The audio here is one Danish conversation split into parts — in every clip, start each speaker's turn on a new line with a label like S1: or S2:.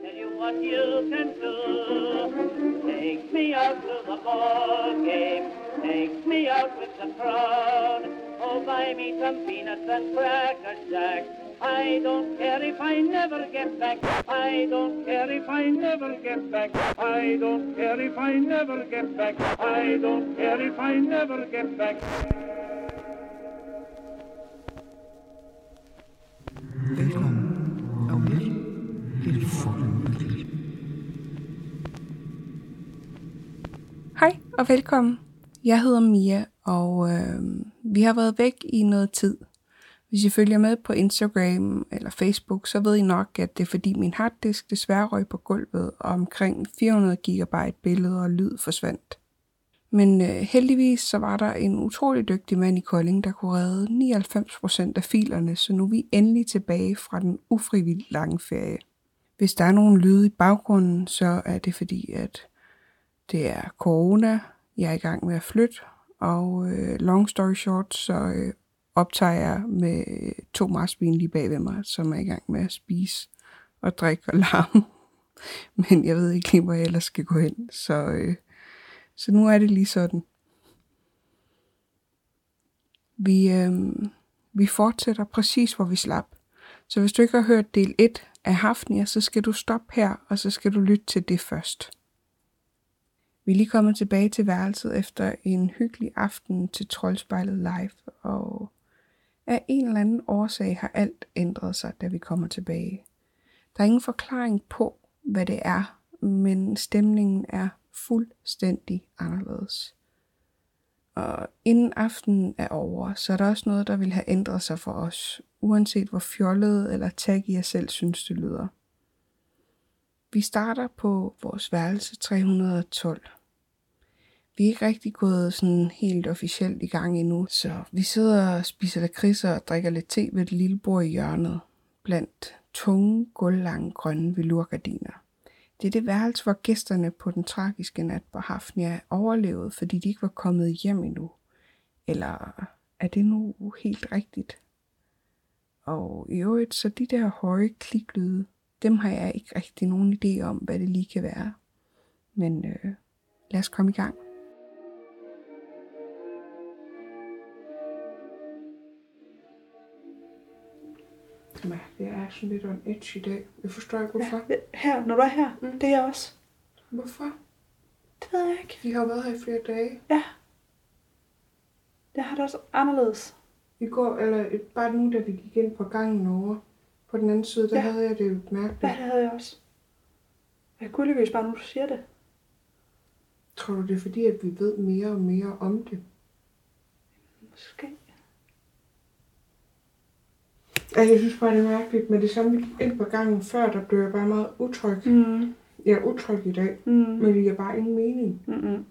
S1: what you can do. Take me out to the ball game. Take me out with the crowd. Oh, buy me some peanuts and cracker jack. I don't care if I never get back. I don't care if I never get back. I don't care if I never get back. I don't care if I never get back.
S2: Velkommen og vel et forhåbentlig.
S3: Hej og velkommen. Jeg hedder Mia, og øh, vi har været væk i noget tid. Hvis I følger med på Instagram eller Facebook, så ved I nok, at det er fordi min harddisk desværre røg på gulvet, og omkring 400 GB billeder og lyd forsvandt. Men øh, heldigvis så var der en utrolig dygtig mand i Kolding, der kunne redde 99% af filerne, så nu er vi endelig tilbage fra den ufrivilligt lange ferie. Hvis der er nogen lyde i baggrunden, så er det fordi, at det er corona, jeg er i gang med at flytte, og øh, long story short, så øh, optager jeg med øh, to marsvin lige bag ved mig, som er i gang med at spise og drikke og larme. Men jeg ved ikke lige, hvor jeg ellers skal gå hen, så, øh, så nu er det lige sådan. Vi, øh, vi fortsætter præcis, hvor vi slap. Så hvis du ikke har hørt del 1 af Hafnia, så skal du stoppe her, og så skal du lytte til det først. Vi er lige kommet tilbage til værelset efter en hyggelig aften til Troldspejlet Live, og af en eller anden årsag har alt ændret sig, da vi kommer tilbage. Der er ingen forklaring på, hvad det er, men stemningen er fuldstændig anderledes. Og inden aftenen er over, så er der også noget, der vil have ændret sig for os, uanset hvor fjollet eller taggy jeg selv synes, det lyder. Vi starter på vores værelse 312. Vi er ikke rigtig gået sådan helt officielt i gang endnu, så vi sidder og spiser lakridser og drikker lidt te ved et lille bord i hjørnet, blandt tunge, gulvlange grønne velurgardiner. Det er det værelse, hvor gæsterne på den tragiske nat på Hafnia overlevede, fordi de ikke var kommet hjem endnu. Eller er det nu helt rigtigt? Og i øvrigt, så de der høje kliklyde, dem har jeg ikke rigtig nogen idé om, hvad det lige kan være. Men øh, lad os komme i gang. Ja, jeg er sådan lidt on edge i dag. Jeg forstår ikke, hvorfor.
S4: Ja, her, når du er her, mm. det er jeg også.
S3: Hvorfor?
S4: Det ved jeg ikke.
S3: Vi har været her i flere dage.
S4: Ja. Jeg har det også anderledes.
S3: I går, eller øh, bare nu, da vi gik ind på gangen over på den anden side, der ja.
S4: Ja.
S3: havde jeg det mærkeligt.
S4: Ja, det havde jeg også. Jeg kunne lykkes bare, nu du siger det.
S3: Tror du, det er fordi, at vi ved mere og mere om det?
S4: Måske.
S3: Altså, jeg synes bare, det er mærkeligt. Men det samme, vi gik ind på gangen før, der blev jeg bare meget utryg.
S4: Mm.
S3: Jeg er utryg i dag,
S4: Mm.
S3: men det giver bare ingen mening.
S4: Mm-mm.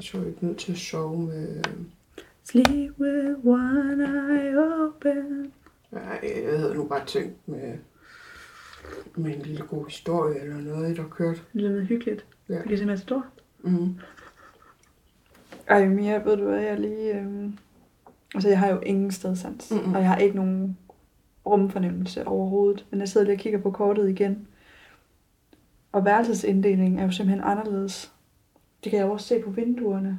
S3: Så er jeg nødt til at sove med...
S4: Sleep with one eye open.
S3: Nej, øh, jeg havde nu bare tænkt med, med en lille god historie eller noget, der kørte.
S4: Det lyder hyggeligt.
S3: Ja.
S4: Ja. Fordi jeg simpelthen er så stor.
S3: Mm.
S4: Ej, Mia, ved du hvad, jeg lige... Øhm... Altså, jeg har jo ingen stedsans,
S3: Mm-mm.
S4: mm-hmm. og jeg har ikke nogen rumfornemmelse overhovedet. Men jeg sidder lige og kigger på kortet igen. Og værelsesinddelingen er jo simpelthen anderledes. Det kan jeg jo også se på vinduerne.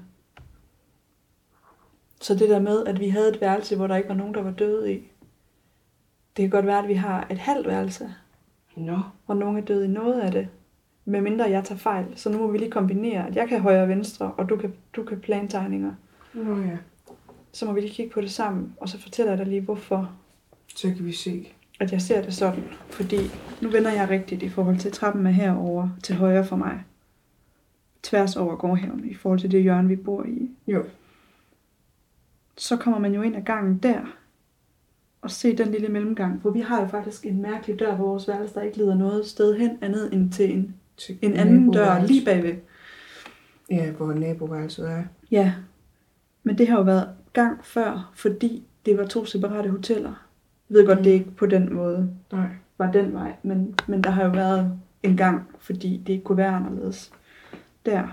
S4: Så det der med, at vi havde et værelse, hvor der ikke var nogen, der var døde i. Det kan godt være, at vi har et halvt værelse,
S3: Nå,
S4: hvor nogen er døde i noget af det. Medmindre jeg tager fejl, så nu må vi lige kombinere, at jeg kan højre og venstre, og du kan, du kan plantegninger
S3: nå ja,
S4: så må vi lige kigge på det sammen, og så fortæller jeg dig lige, hvorfor
S3: så kan vi se.
S4: at jeg ser det sådan. Fordi nu vender jeg rigtigt i forhold til trappen er herover til højre for mig. Tværs over gårdhaven i forhold til det hjørne, vi bor i.
S3: Jo.
S4: Så kommer man jo ind ad gangen der, og se den lille mellemgang. For vi har jo faktisk en mærkelig dør på vores værelse, der ikke leder noget sted hen andet end til en,
S3: Til
S4: en anden dør
S3: naboværelset.
S4: lige bagved.
S3: Ja, hvor naboværelset er.
S4: Ja, men det har jo været gang før, fordi det var to separate hoteller. Jeg ved godt,
S3: Mm.
S4: mm. det ikke på den måde
S3: Nej.
S4: var den vej, men, men der har jo været en gang, fordi det ikke kunne være anderledes. Der.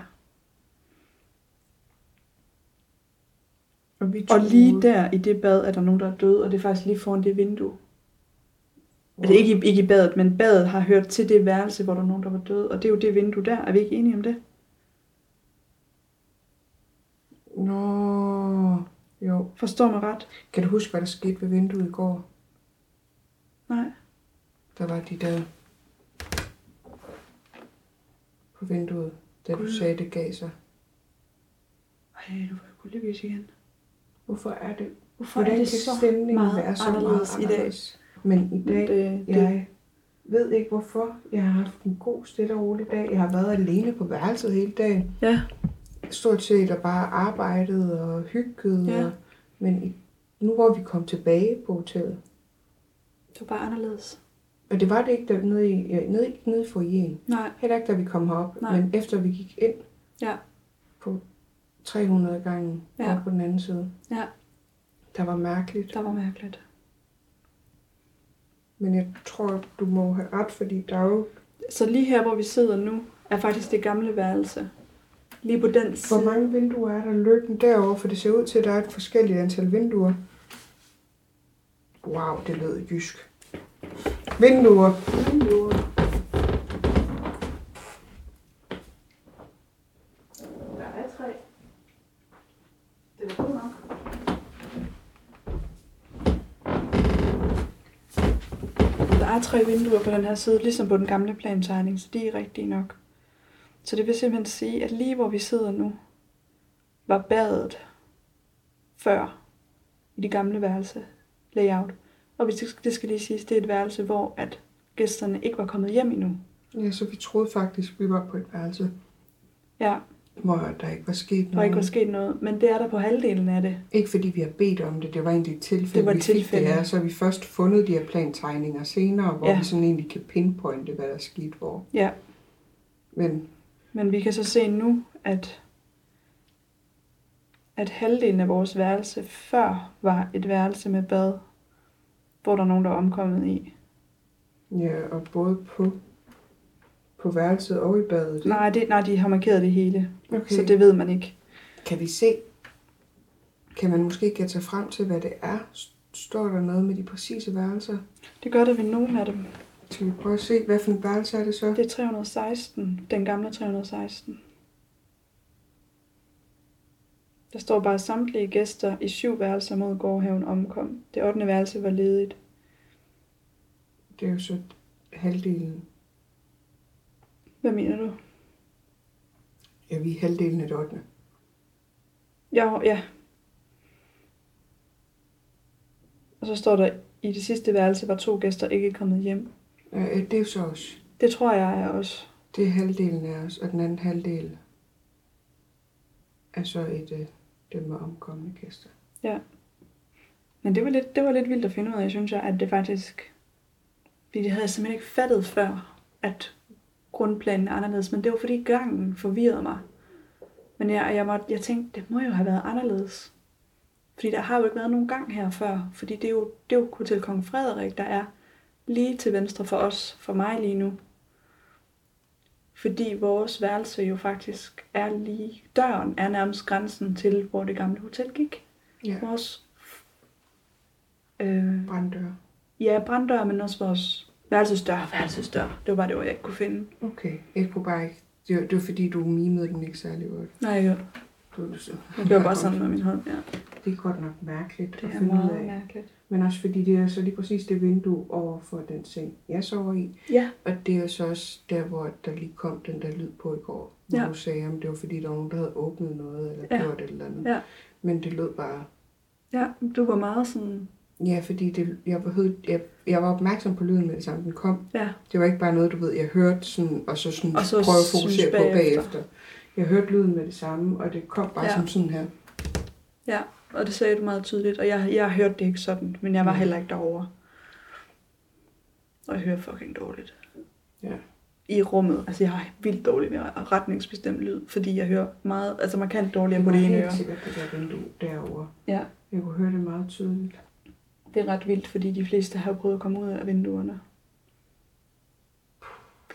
S3: Og, vi
S4: Og
S3: troede-
S4: lige der i det bad, er der nogen, der er døde, og det er faktisk lige foran det vindue. Altså ikke i, ikke i badet, men badet har hørt til det værelse, hvor der er nogen, der var døde. Og det er jo det vindue der. Er vi ikke enige om det?
S3: Nå, jo.
S4: Forstår mig ret?
S3: Kan du huske, hvad der skete ved vinduet i går?
S4: Nej.
S3: Der var de der på vinduet, da du
S4: Gud.
S3: sagde, det gav sig.
S4: Ej, nu var jeg lykkedes igen.
S3: Hvorfor er det?
S4: Hvorfor
S3: Hvordan
S4: er det
S3: kan
S4: så
S3: stemningen
S4: meget
S3: være så
S4: anderledes i
S3: meget
S4: dag?
S3: anderledes? Men i dag,
S4: øh, Det, det,
S3: jeg ved ikke hvorfor. Jeg har haft en god, stille og rolig dag. Jeg har været alene på værelset hele dagen.
S4: ja.
S3: Stort set og bare arbejdet og hygget.
S4: Ja.
S3: Ja. Og, men i, nu hvor vi kom tilbage på hotellet,
S4: Det var bare anderledes.
S3: og det var det ikke der, nede, i, ja, nede, i- nede i foyeren.
S4: Nej.
S3: Heller ikke, da vi kom herop,
S4: Nej.
S3: Nej. men efter vi gik ind
S4: Ja.
S3: på 300 gange
S4: Ja.
S3: ja. op på den anden side.
S4: Ja.
S3: Der var mærkeligt.
S4: Der var mærkeligt.
S3: Men jeg tror, du må have ret, fordi der er jo...
S4: Så lige her, hvor vi sidder nu, er faktisk det gamle værelse. Lige på den
S3: Hvor
S4: side.
S3: mange vinduer er der løbende derovre? For det ser ud til, at der er et forskelligt antal vinduer. Wow, det lød jysk. Vinduer.
S4: Der er tre. Det var godt nok. Der er tre vinduer på den her side, ligesom på den gamle plantegning, så de er rigtige nok. Så det vil simpelthen sige, at lige hvor vi sidder nu, var badet før i det gamle værelse layout. Og hvis det skal- det skal lige siges, det er et værelse, hvor at gæsterne ikke var kommet hjem endnu.
S3: Ja, så vi troede faktisk, vi var på et værelse,
S4: Ja,
S3: hvor der ikke var sket
S4: der var
S3: noget.
S4: ikke var sket noget, men det er der på halvdelen af det.
S3: Ikke fordi vi har bedt om det, det var egentlig et tilfælde,
S4: Det var et
S3: vi fik
S4: tilfælde.
S3: det her, så har vi først fundet de her plantegninger senere, hvor
S4: Ja.
S3: ja. vi sådan egentlig kan pinpointe, hvad der er sket hvor.
S4: Ja.
S3: Men
S4: Men vi kan så se nu, at, at halvdelen af vores værelse før var et værelse med bad, hvor der er nogen, der er omkommet i.
S3: ja, og både på, på værelset og i badet. ikke?
S4: Nej, det, nej de har markeret det hele, okay.
S3: Okay.
S4: så det ved man ikke.
S3: Kan vi se, kan man måske gætte sig frem til, hvad det er? S- Står der noget med de præcise værelser?
S4: Det gør det ved nogen af dem.
S3: Skal vi prøve at se, hvad for en værelse er det så?
S4: Det er 316, den gamle 316. Der står bare samtlige gæster i syv værelser mod gårdhaven omkom. Det 8. værelse var ledigt.
S3: Det er jo så halvdelen.
S4: Hvad mener du?
S3: Ja, vi er halvdelen af det 8.
S4: Jo, ja. Og så står der, i det sidste værelse var to gæster ikke kommet hjem.
S3: Ja, Øh, det er jo så også.
S4: Det tror jeg er også.
S3: Det er halvdelen af os, og den anden halvdel er så et, øh, dem med omkommende gæster.
S4: Men det var, lidt, det var lidt vildt at finde ud af, synes jeg, at det faktisk... Fordi det havde jeg simpelthen ikke fattet før, at grundplanen er anderledes. Men det var fordi gangen forvirrede mig. Men jeg, jeg, måtte, jeg tænkte, det må jo have været anderledes. Fordi der har jo ikke været nogen gang her før. Fordi det er jo, det er jo Hotel Kong Frederik, der er lige til venstre for os, for mig lige nu. Fordi vores værelse jo faktisk er lige... Døren er nærmest grænsen til, hvor det gamle hotel gik.
S3: Ja,
S4: Vores øh,
S3: branddør.
S4: ja, branddør, men også vores værelsesdør. Værelsesdør. Det var bare det ord, jeg ikke kunne finde.
S3: Okay, jeg kunne bare ikke. Det var, det var fordi, du mimede den ikke særlig godt.
S4: Nej, jeg
S3: Du, du, så.
S4: jeg gjorde bare sådan med min hånd. Ja.
S3: Det er godt nok mærkeligt
S4: Det
S3: at
S4: er
S3: finde ud
S4: meget
S3: af.
S4: mærkeligt.
S3: Men også fordi det er så lige præcis det vindue over for den seng, jeg sover i.
S4: Ja,
S3: Og det er så også der, hvor der lige kom den der lyd på i går. Hvor
S4: Ja.
S3: ja. du sagde, om det var fordi, der var nogen, der havde åbnet noget eller
S4: Ja.
S3: ja. gjort et eller andet.
S4: Ja.
S3: Men det lød bare...
S4: ja, du var meget sådan...
S3: Ja, fordi det, jeg, var, hød- jeg, jeg var opmærksom på lyden med det samme, den kom.
S4: Ja,
S3: Det var ikke bare noget, du ved, jeg hørte sådan, og så, sådan
S4: Og så
S3: prøve at
S4: synes
S3: fokusere på
S4: bagefter.
S3: bagefter. Jeg hørte lyden med det samme, og det kom bare
S4: Ja.
S3: ja. som sådan her.
S4: ja. Og det sagde du meget tydeligt, og jeg, jeg hørte det ikke sådan, men jeg var
S3: Mm.
S4: heller ikke derovre. Og jeg hører fucking dårligt.
S3: Ja.
S4: I rummet. Altså, jeg har vildt dårligt ved at retningsbestemt lyd, fordi jeg hører meget... Altså, man kan dårligere på
S3: var
S4: det ene øre.
S3: helt sikkert det der vindue derovre.
S4: Ja.
S3: Jeg kunne høre det meget tydeligt.
S4: Det er ret vildt, fordi de fleste har jo prøvet at komme ud af vinduerne.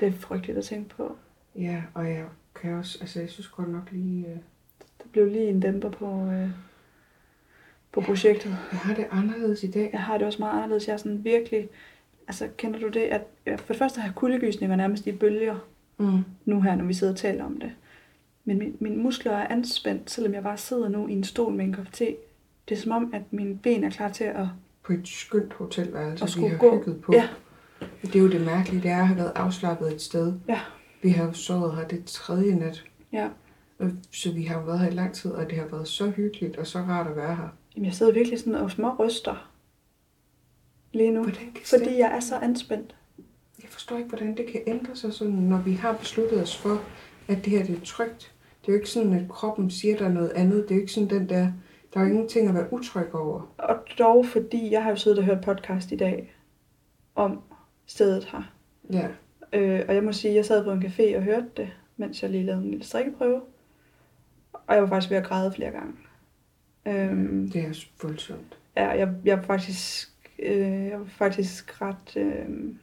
S4: Det er frygteligt at tænke på.
S3: Ja, og jeg kan også, altså jeg synes godt nok lige, øh,
S4: Der blev lige en dæmper på, øh, på projektet.
S3: Jeg har det anderledes i dag.
S4: Jeg har det også meget anderledes. Jeg er sådan virkelig... Altså, kender du det, at ja, for det første har jeg kuldegysninger nærmest i bølger
S3: Mm.
S4: nu her, når vi sidder og taler om det. Men min, mine muskler er anspændt, selvom jeg bare sidder nu i en stol med en kop te. Det er som om, at mine ben er klar til at...
S3: På et skønt hotelværelse,
S4: Og
S3: vi
S4: skulle
S3: har
S4: gå.
S3: hygget på.
S4: Ja.
S3: Det er jo det mærkelige, det er at have været afslappet et sted.
S4: Ja.
S3: Vi har jo sovet her det tredje nat.
S4: Ja.
S3: Og- Så vi har jo været her i lang tid, og det har været så hyggeligt og så rart at være her.
S4: Jamen, jeg sidder virkelig sådan og små ryster lige nu,
S3: Hvordan kan
S4: fordi jeg er så anspændt.
S3: Jeg forstår ikke, hvordan det kan ændre sig sådan, når vi har besluttet os for, at det her det er trygt. Det er jo ikke sådan, at kroppen siger, der er noget andet. Det er jo ikke sådan den der, der er jo ingenting at være utryg over.
S4: Og dog fordi, jeg har jo siddet og hørt podcast i dag om stedet her.
S3: Ja,
S4: Øh, og jeg må sige, at jeg sad på en café og hørte det, mens jeg lige lavede en lille strikkeprøve. Og jeg var faktisk ved at græde flere gange. Øhm,
S3: det er også voldsomt.
S4: ja, jeg, jeg, var faktisk, øh, jeg var faktisk ret øh,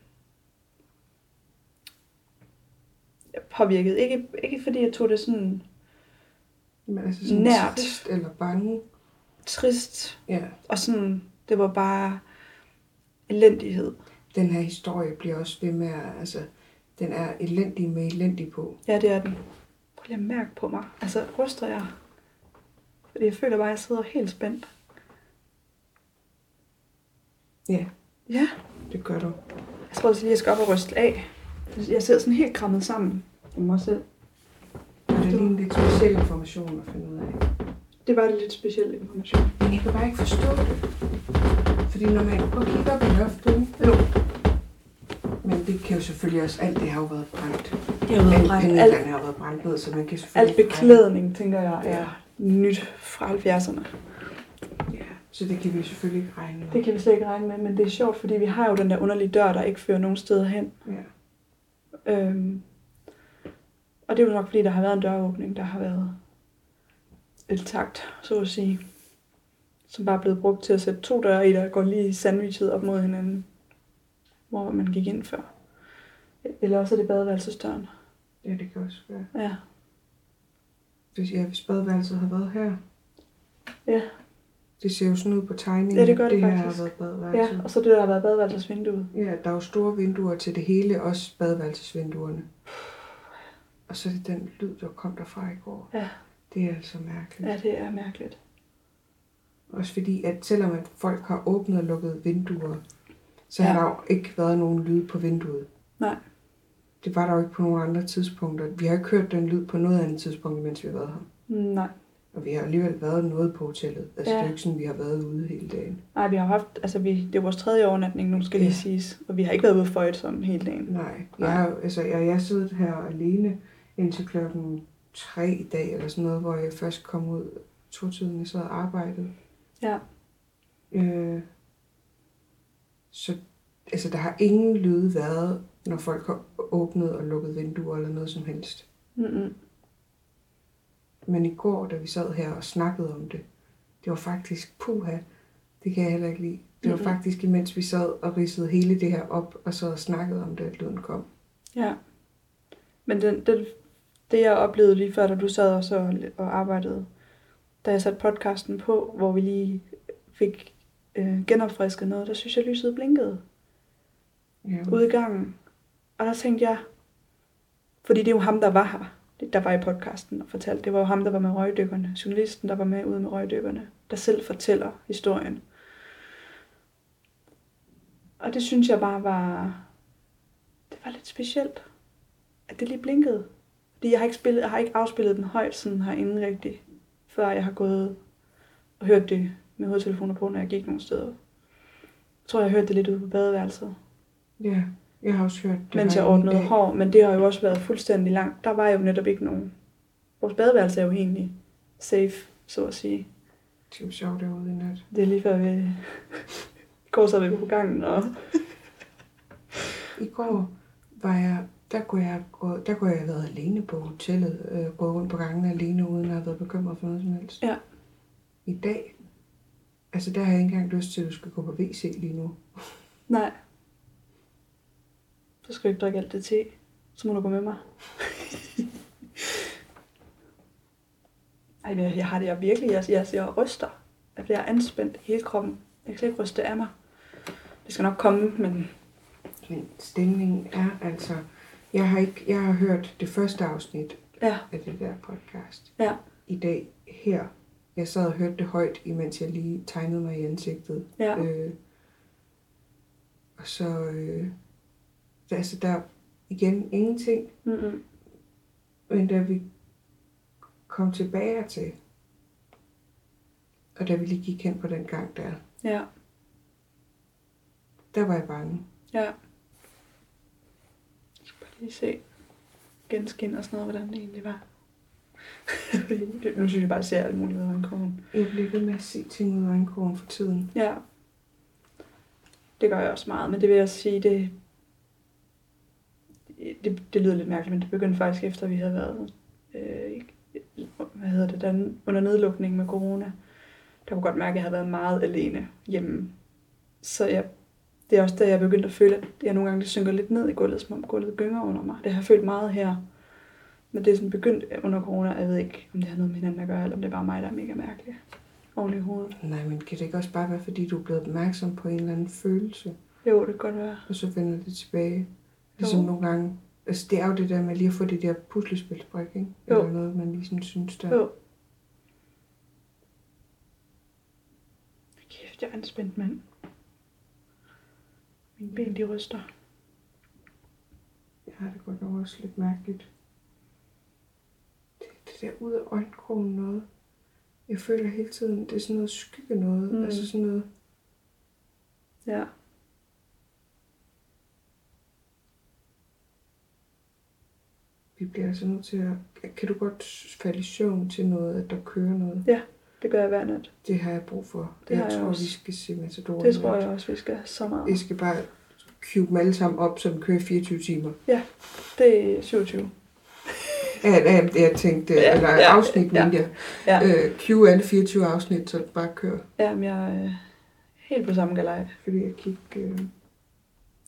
S4: påvirket. Ikke, ikke fordi jeg tog det sådan
S3: Men altså sådan
S4: Nært.
S3: trist eller bange.
S4: trist,
S3: Ja,
S4: og sådan, det var bare elendighed.
S3: den her historie bliver også ved med at, altså, den er elendig med elendig på.
S4: Ja, det er den. Prøv lige at mærke på mig. Altså, ryster jeg? Fordi jeg føler bare, at jeg sidder helt spændt.
S3: Ja,
S4: Ja.
S3: det gør du.
S4: Jeg tror også lige, jeg skal op og ryste af. Jeg sidder sådan helt krammet sammen om mig selv.
S3: Og det er lige en lidt speciel information at finde ud af.
S4: Det var det lidt specielle information.
S3: Men jeg kan bare ikke forstå det. Fordi når man går og kigger op i loftet,
S4: Jo,
S3: men det kan jo selvfølgelig også, alt det har jo været brændt.
S4: det har været brændt.
S3: Alt,
S4: Alt,
S3: alt har været brændt ned, så man kan
S4: alt
S3: selvfølgelig...
S4: beklædning, tænker jeg, er nyt fra 70'erne.
S3: Ja, så det kan vi selvfølgelig ikke regne med.
S4: Det kan vi slet ikke regne med, men det er sjovt, fordi vi har jo den der underlige dør, der ikke fører nogen steder hen.
S3: Ja.
S4: Øhm, og det er jo nok, fordi der har været en døråbning, der har været et takt, så at sige. Som bare er blevet brugt til at sætte to døre i, der går lige sandwichet op mod hinanden. Hvor man gik ind før. Eller også er det badeværelsesdøren.
S3: ja, det kan også være.
S4: Ja.
S3: Hvis, ja, hvis badeværelset har været her.
S4: Ja.
S3: Det ser jo sådan ud på tegningen.
S4: Ja, det gør
S3: at
S4: det
S3: det
S4: faktisk.
S3: her har været badeværelset.
S4: ja, og så det, der har været badeværelsesvinduet.
S3: Ja. ja, der er jo store vinduer til det hele, også badeværelsesvinduerne. Og så er det den lyd, der kom derfra i går.
S4: Ja.
S3: Det er altså mærkeligt.
S4: Ja, det er mærkeligt.
S3: Også fordi, at selvom at folk har åbnet og lukket vinduer, så ja.
S4: Ja.
S3: har der jo ikke været nogen lyd på vinduet.
S4: Nej.
S3: Det var der jo ikke på nogen andre tidspunkter. Vi har ikke hørt den lyd på noget andet tidspunkt, mens vi har været her.
S4: Nej.
S3: Og vi har alligevel været noget på hotellet. Altså,
S4: Ja.
S3: ja. det er jo ikke sådan, vi har været ude hele dagen.
S4: Nej, vi har haft, altså vi, det er vores tredje overnatning, nu skal lige
S3: Ja.
S4: siges. Og vi har ikke været ude for et sådan hele dagen.
S3: Nej.
S4: Nej.
S3: Jeg, har jo- altså, jeg, jeg siddet her alene indtil klokken tre i dag, eller sådan noget, hvor jeg først kom ud to tiden, jeg sad og arbejdede.
S4: Ja.
S3: Øh, så altså, der har ingen lyde været, når folk har åbnet og lukket vinduer eller noget som helst.
S4: Mm-mm.
S3: Men i går, da vi sad her og snakkede om det, det var faktisk puha. Det kan jeg heller ikke lide. Det var
S4: Mhm.
S3: faktisk imens vi sad og ridsede hele det her op, og sad og snakkede om det, at lyden kom.
S4: Ja. Men den, den, det, jeg oplevede lige før, da du sad og, så, og arbejdede, da jeg satte podcasten på, hvor vi lige fik øh, genopfrisket noget, der synes jeg, lyset blinkede
S3: Ja.
S4: ude i gangen. Og der tænkte jeg, fordi det er jo ham, der var her, det- der var i podcasten og fortalte, det var jo ham, der var med røgdykkerne, journalisten, der var med ude med røgdykkerne, der selv fortæller historien. Og det synes jeg bare var, det var lidt specielt, at det lige blinkede. Fordi jeg har ikke, spillet, jeg har ikke afspillet den højt sådan herinde rigtigt, før jeg har gået og hørt det med hovedtelefoner på, når jeg gik nogle steder. Jeg tror, jeg hørte det lidt ude på badeværelset
S3: ja. Jeg har også hørt det.
S4: mens jeg
S3: herinde i
S4: ordnede
S3: dag.
S4: hår, men det har jo også været fuldstændig langt. Der var jo netop ikke nogen. Vores badeværelse er jo egentlig safe, så at sige.
S3: Det var sjovt derude i nat.
S4: Det er lige før vi går så ved på gangen, og
S3: I går var jeg, der kunne jeg, gå, der kunne jeg have været alene på hotellet, øh, gå rundt på gangen alene, uden at have været bekymret for noget som helst.
S4: Ja.
S3: I dag, altså der har jeg ikke engang lyst til, at du skal gå på WC lige nu.
S4: nej. Så skal du ikke drikke alt det te. Så må du gå med mig. Ej, men jeg har det jeg virkelig. Jeg, jeg, jeg ryster. Jeg bliver anspændt i hele kroppen. Jeg kan slet ikke ryste af mig. Det skal nok komme, men
S3: Men stemningen er altså... Jeg har, ikke, jeg har hørt det første afsnit
S4: Ja.
S3: af det der podcast
S4: Ja.
S3: i dag her. Jeg sad og hørte det højt, imens jeg lige tegnede mig i ansigtet.
S4: Ja.
S3: Øh, og så... Øh, der, altså, der er igen ingenting,
S4: Mm-mm.
S3: men da vi kom tilbage hertil, og da vi lige gik hen på den gang der,
S4: Ja.
S3: der var jeg bange.
S4: Jeg skal bare lige se genskin og sådan noget, hvordan det egentlig var. Fordi det- nu synes jeg bare, at jeg ser alt muligt ud af øjenkogen.
S3: Jeg blev ved med at se ting ud af øjenkogen for tiden.
S4: Ja. Det gør jeg også meget, men det vil jeg sige, det, det, det lyder lidt mærkeligt, men det begyndte faktisk efter, vi havde været øh, ikke- hvad hedder det, der, under nedlukning med corona. Der kunne jeg godt mærke, at jeg havde været meget alene hjemme. Så jeg, det er også der, jeg begyndte at føle, at jeg nogle gange det synker lidt ned i gulvet, som om gulvet gynger under mig. Det har jeg følt meget her. Men det er sådan begyndt under corona, og jeg ved ikke, om det har noget med hinanden at gøre, eller om det er bare mig, der er mega mærkelig oven i hovedet.
S3: Nej, men kan det ikke også bare være, fordi du er blevet opmærksom på en eller anden følelse,
S4: Jo, det kan godt være.
S3: og så vender det tilbage? Ligesom
S4: Jo.
S3: nogle gange, altså det er jo det der med lige at få det der puslespilsbrik, ikke?
S4: Jo.
S3: Eller noget, man ligesom synes der.
S4: Jo. Kæft, jeg er anspændt, mand. Mine ben, de ryster.
S3: Jeg har det godt nok også lidt mærkeligt. Det, det der ud af øjenkrogen noget. Jeg føler hele tiden, det er sådan noget skygge noget.
S4: Mm.
S3: Mm. Altså sådan noget,
S4: Ja.
S3: vi bliver altså nødt til at... Kan du godt falde i søvn til noget, at der kører noget?
S4: Det gør jeg hver nat.
S3: Det har jeg brug for.
S4: Det
S3: jeg
S4: har jeg
S3: tror,
S4: også.
S3: vi skal se Matador.
S4: Det tror jeg også, vi skal have så meget.
S3: Jeg skal bare cube dem alle sammen op, så den kører 24 timer.
S4: Det er 27.
S3: Ja, ja, jeg tænkte,
S4: Ja,
S3: ja, eller
S4: ja,
S3: ja, afsnit,
S4: ja,
S3: ja, mente jeg.
S4: ja.
S3: Ja. Øh, cue alle 24 afsnit, så det bare kører.
S4: Jamen, jeg er øh, helt på samme galej.
S3: Fordi jeg kigge... Øh,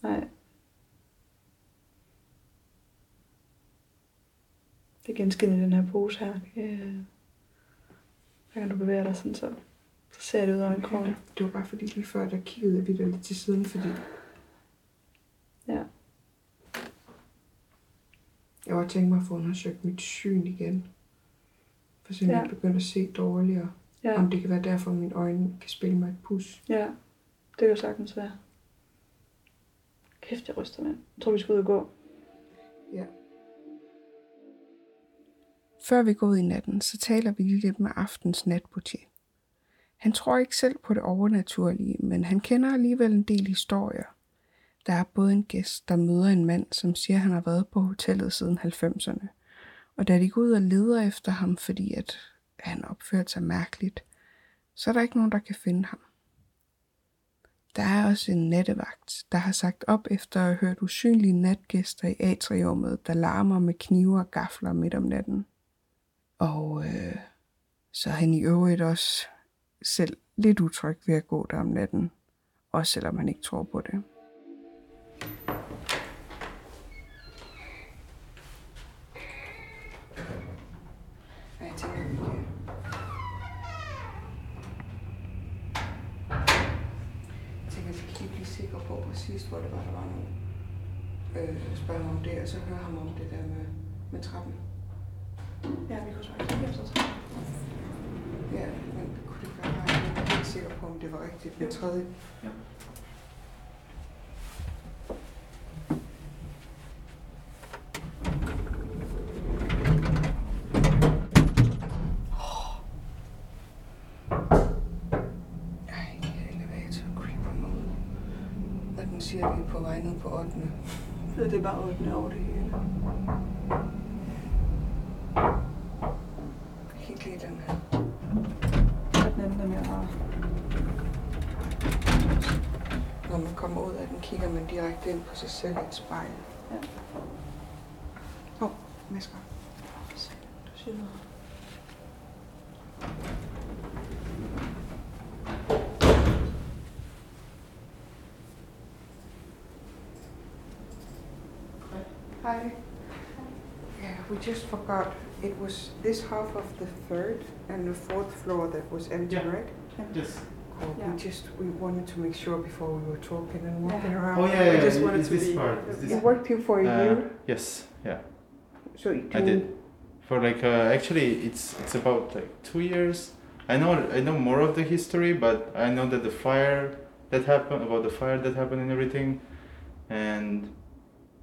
S4: Nej. Det er genskin i den her pose her. Øh, Hver gang du bevæger dig sådan, så, så ser det ud af en krone.
S3: det var bare fordi, lige før, der kiggede jeg videre lidt til siden, fordi...
S4: Ja.
S3: Jeg var tænkt mig at få undersøgt mit syn igen. For så jeg
S4: Ja.
S3: ja. begyndte at se dårligere.
S4: Ja.
S3: Ja. Om det kan være derfor, at mine øjne kan spille mig et pus.
S4: Ja, det kan sagtens være. Kæft, jeg ryster, mand. Jeg tror, vi skal ud og gå.
S5: Før vi går ud i natten, så taler vi lige lidt med aftens natbutier. Han tror ikke selv på det overnaturlige, men han kender alligevel en del historier. Der er både en gæst, der møder en mand, som siger, at han har været på hotellet siden 90'erne. Og da de går ud og leder efter ham, fordi at han opførte sig mærkeligt, så er der ikke nogen, der kan finde ham. Der er også en nattevagt, der har sagt op efter at have hørt usynlige natgæster i atriummet, der larmer med knive og gafler midt om natten. Og øh, så er han i øvrigt også selv lidt utryg ved at gå der om natten, også selvom han ikke tror på det.
S3: Og jeg tænker, at vi kan... Jeg tænker, at vi kan lige blive sikre på præcis, hvor det var, der var nogen. Øh, spørge ham om det, og så høre ham om det der med, med trappen.
S4: Ja, vi kunne så ikke efter træet.
S3: Ja, men kunne det være rart, jeg var ikke sikker på, om det var rigtigt den tredje.
S4: Jo.
S3: Ej, elevator creeper mode. Og den siger, at vi er på vej ned på 8.
S4: Det er bare åbne over det hele.
S3: Helt lige den her.
S4: Og den anden er mere rar.
S3: Når man kommer ud af den, kigger man direkte ind på sig selv i et spejl.
S4: Ja.
S3: Åh, oh, masker.
S4: Du siger noget.
S3: Hi. Yeah, we just forgot. It was this half of the third and the fourth floor that was empty,
S6: Yeah.
S3: right?
S6: Yes.
S7: or
S4: Yeah.
S7: we just we wanted to make sure before we were talking and walking around.
S8: Oh yeah, yeah.
S7: We Um, just
S8: yeah,
S7: wanted
S8: it's
S7: to
S8: this
S7: be.
S8: part. It's this
S7: It worked you for a
S8: Uh,
S7: year,
S8: Yes, yeah,
S7: so it
S8: I did. For like uh, actually, it's it's about like two years. I know I know more of the history, but I know that the fire that happened about the fire that happened and everything, and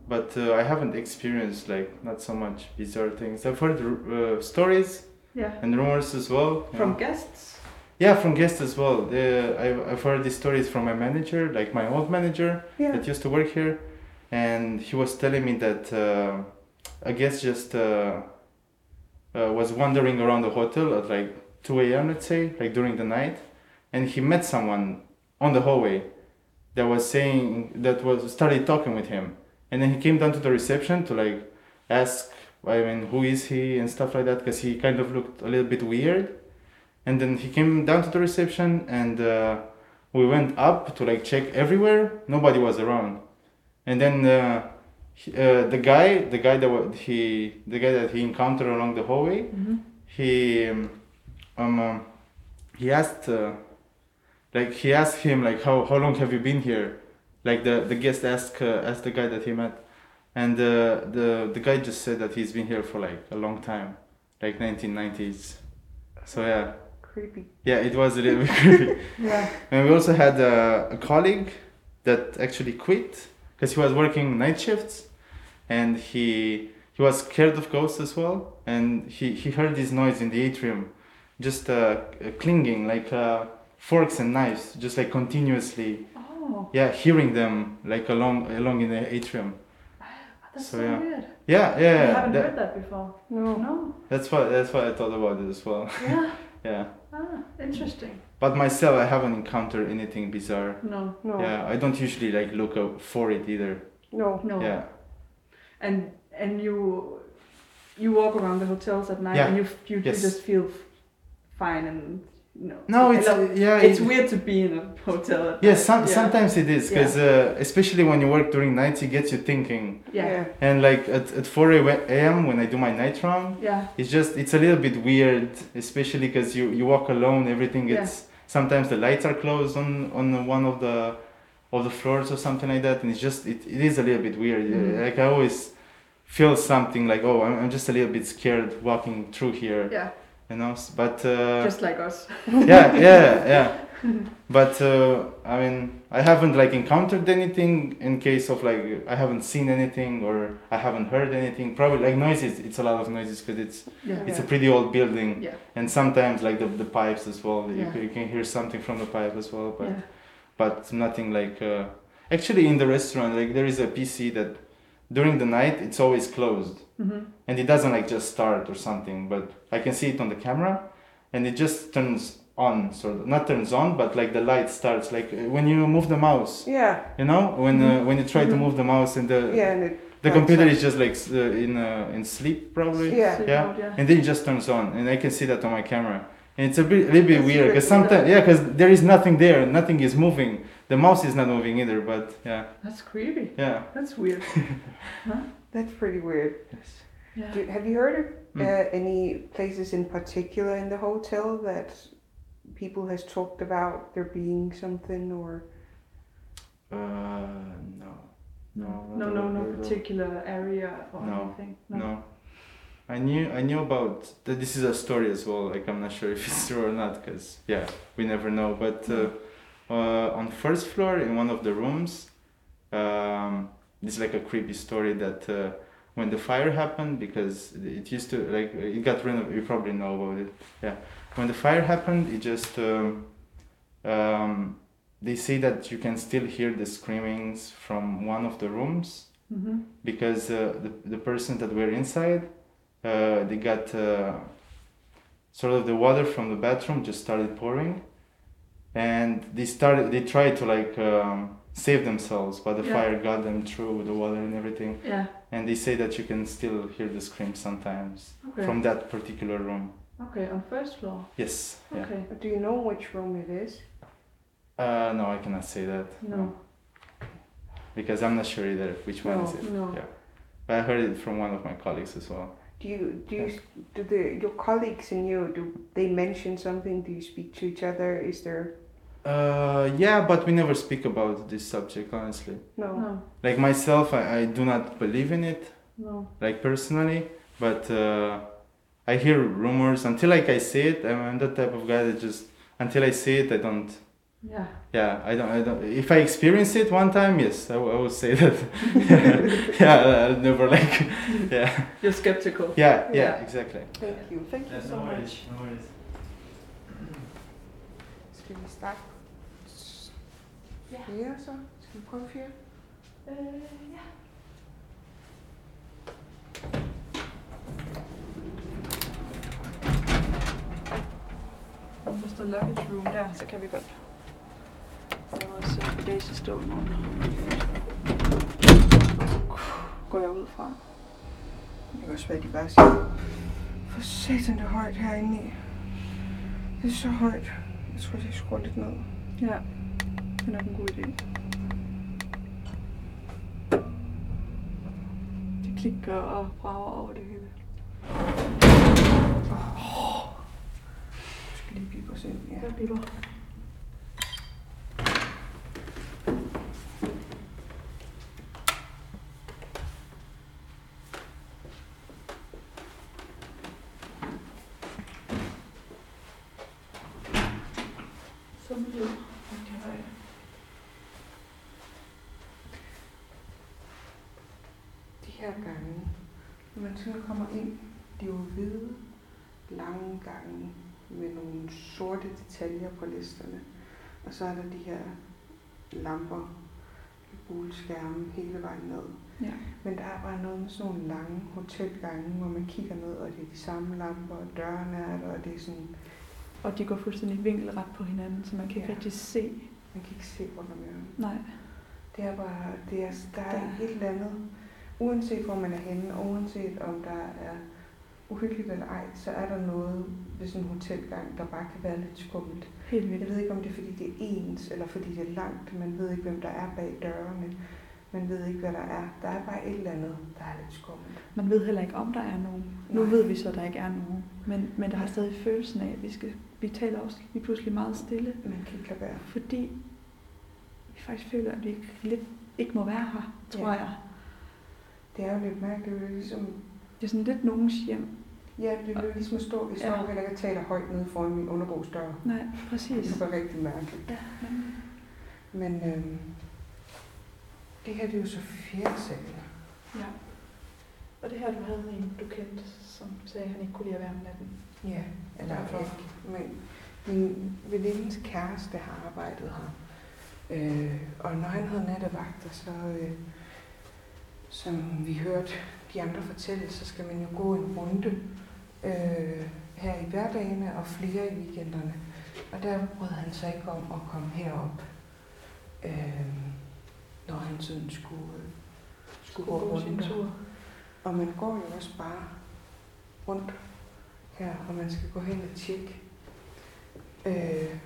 S8: but uh, I haven't experienced like not so much bizarre things. I've heard uh, stories
S4: Yeah.
S8: and rumors as well. you know.
S7: from guests.
S8: Yeah, from guests as well. The, I, I've heard these stories from my manager, like my old manager
S7: Yeah.
S8: that used to work here, and he was telling me that uh, a guest just uh, uh, was wandering around the hotel at like 2 a.m., let's say, like during the night, and he met someone on the hallway that was saying, that was started talking with him. And then he came down to the reception to like ask, I mean, who is he and stuff like that, because he kind of looked a little bit weird and then he came down to the reception and uh, we went up to like check everywhere nobody was around and then uh, he, uh, the guy the guy that wa- he the guy that he encountered along the hallway he um, um uh, he asked uh, like he asked him like how how long have you been here like the the guest asked uh, asked the guy that he met and uh, the the guy just said that he's been here for like a long time like 1990s so yeah
S7: Creepy.
S8: yeah, it was a little bit creepy.
S7: Yeah.
S8: And we also had uh, a, a colleague that actually quit because he was working night shifts, and he he was scared of ghosts as well. And he he heard this noise in the atrium, just uh, clinging like uh, forks and knives, just like continuously.
S4: Oh,
S8: Yeah, hearing them like along along in the atrium.
S4: that's
S8: So,
S4: so,
S8: yeah.
S4: weird.
S8: Yeah,
S4: I
S8: yeah.
S4: haven't
S8: that-
S4: heard that before.
S7: No.
S4: No.
S8: that's what that's what I thought about it as well.
S4: Yeah.
S8: yeah,
S4: ah, interesting.
S8: but myself, I haven't encountered anything bizarre.
S4: No.
S7: No.
S8: Yeah, I don't usually like look out for it either.
S7: No.
S4: No.
S8: Yeah,
S4: And and you you walk around the hotels at night
S8: Yeah.
S4: and you f- you,
S8: Yes.
S4: you just feel f- fine and no.
S8: no, it's uh,
S4: Hello.
S8: yeah,
S4: it's
S8: it-
S4: weird to be in a hotel. At
S8: Yeah,
S4: night.
S8: some,
S4: yeah.
S8: sometimes it is because uh, especially when you work during nights, it gets you thinking.
S4: Yeah.
S8: And like at, at four a.m. when I do my night round,
S4: Yeah.
S8: it's just it's a little bit weird, especially because you you walk alone. Everything
S4: Yeah.
S8: it's sometimes the lights are closed on on one of the of the floors or something like that, and it's just it, it is a little bit weird. Yeah,
S4: Mhm.
S8: Like I always feel something like oh I'm, I'm just a little bit scared walking through here,
S4: Yeah.
S8: you know. s- But uh,
S4: Just like us.
S8: yeah, yeah, yeah. But uh, I mean, I haven't like encountered anything in case of like I haven't seen anything or I haven't heard anything. Probably like noises. It's a lot of noises because it's
S4: Yeah.
S8: it's a pretty old building.
S4: Yeah.
S8: And sometimes like the, the pipes as well. You,
S4: Yeah.
S8: can, you can hear something from the pipe as well. But
S4: Yeah.
S8: but nothing like uh, actually in the restaurant like there is a PC that during the night it's always closed
S4: Mhm.
S8: and it doesn't like just start or something but i can see it on the camera and it just turns on sort of not turns on but like the light starts like uh, when you move the mouse
S7: Yeah.
S8: you know when uh, when you try to move the mouse and the
S7: Yeah. And it.
S8: the
S7: lights
S8: computer
S7: up.
S8: is just like s- uh, in uh, in sleep probably
S7: Yeah.
S4: Sleep
S8: Yeah.
S4: mode, yeah.
S8: and then it just turns on and i can see that on my camera and it's a bit, a little bit
S7: It's
S8: weird
S7: weird,
S8: because sometimes
S7: yeah.
S8: yeah because there is nothing there nothing is moving the mouse is not moving either but yeah
S4: That's creepy.
S8: yeah
S4: That's weird.
S7: That's pretty weird.
S4: Yeah.
S7: Do, have you heard of uh, any places in particular in the hotel that people has talked about there being something or?
S8: uh no no
S4: No, no, no particular area or
S8: No.
S4: anything.
S8: no i knew i knew about that this is a story as well like i'm not sure if it's true or not because yeah we never know but uh, uh, on first floor in one of the rooms um, it's like a creepy story that uh, when the fire happened because it used to like it got renovated you probably know about it yeah when the fire happened it just um, um, they say that you can still hear the screamings from one of the rooms
S4: Mm-hmm.
S8: because uh, the, the person that were inside uh, they got uh, sort of the water from the bathroom just started pouring and they started they tried to like um, save themselves but the
S4: Yeah.
S8: fire got them through the water and everything
S4: Yeah.
S8: and they say that you can still hear the scream sometimes
S4: Okay.
S8: from that particular room
S4: okay. On first floor.
S8: yes yeah
S4: Okay.
S7: Do you know which room it is?
S8: uh, no i cannot say that
S4: No.
S8: because i'm not sure either which one
S7: No,
S8: is it
S4: no.
S8: yeah but i heard it from one of my colleagues as well
S7: Do you do you, do the your colleagues and you do they mention something? Do you speak to each other? Is there
S8: Uh, yeah, but we never speak about this subject, honestly.
S9: No.
S3: No.
S8: Like myself, I, I do not believe in it,
S3: No.
S8: like personally, but uh, I hear rumors until like I see it. I'm, I'm that type of guy that just until I see it, I don't.
S3: Yeah.
S8: Yeah, I don't. I don't. If I experience it one time, yes, I, w- I will say that. yeah, I'll never like. Yeah,
S4: You're skeptical.
S8: yeah, yeah,
S3: Yeah.
S8: exactly.
S3: Thank you.
S9: Thank you so much.
S8: No worries.
S3: Skal vi starte? Ja. Fjerde så? Skal vi prøve fjerde?
S9: Hvis der er luggage room der, så kan vi godt. Der er også øh, Daisy stå i morgen. Går jeg ud fra.
S10: Det kan også være, de bare siger, for satan det er højt herinde i. Det er så højt. Jeg tror, jeg skruer lidt ned.
S9: Ja, det er nok en god idé. Det klikker og brager over det hele.
S10: Du skal lige blive på selv. Ja.
S9: Hvad bliver du?
S3: De her gange, når man sådan kommer ind, det er jo hvide, lange gange med nogle sorte detaljer på listerne. Og så er der de her lamper, bulskærme hele vejen ned.
S9: Ja.
S3: Men der er bare noget med sådan nogle lange hotelgange, hvor man kigger ned, og det er de samme lamper, og dørene er der, og det er sådan,
S9: Og de går fuldstændig vinkelret på hinanden, så man kan ikke
S3: Ja.
S9: rigtig se.
S3: man kan ikke se rundt om hjørnet.
S9: Nej,
S3: Det er bare, det er, der er
S9: Der-
S3: et eller andet, uanset hvor man er henne, og uanset om der er uhyggeligt eller ej, så er der noget ved sådan en hotelgang, der bare kan være lidt skummelt.
S9: helt
S3: Jeg
S9: vildt.
S3: ved ikke, om det er fordi, det er ens, eller fordi det er langt. Man ved ikke, hvem der er bag dørene. Man ved ikke, hvad der er. Der er bare et eller andet, der er lidt skummelt.
S9: Man ved heller ikke, om der er nogen. Nu
S3: Nej.
S9: ved vi så, at der ikke er nogen. Men, men der har stadig følelsen af, at vi, skal, vi taler også lige pludselig meget stille.
S3: Man kan ikke lade være.
S9: Fordi vi faktisk føler, at vi ikke, lidt, ikke må være her, tror
S3: Ja.
S9: jeg.
S3: Det er jo lidt mærkeligt. Det er ligesom,
S9: Det er sådan lidt nogens hjem.
S3: ja, det er ligesom at stå i
S9: Ja.
S3: stormen, eller jeg taler højt nede foran min underbrugsdør.
S9: Nej,
S3: Det
S9: præcis.
S3: var rigtig mærkeligt.
S9: Ja, men
S3: Men øhm, det her det er jo så fjerde sal.
S4: Ja. Og det her, du havde en, du kendte, som sagde, at han ikke kunne lide at være om natten.
S3: Ja, eller
S4: Derfor.
S3: ikke. Men min venindes kæreste har arbejdet her. Øh, og når han havde nattevagter, så øh, som vi hørte de andre fortælle, så skal man jo gå en runde øh, her i hverdagene og flere i weekenderne. Og der brød han sig ikke om at komme herop, øh, når han sådan skulle, øh, skulle gå
S4: Gå sin
S3: rundt.
S4: tur.
S3: Og man går jo også bare rundt her, og man skal gå hen og tjekke. Øh,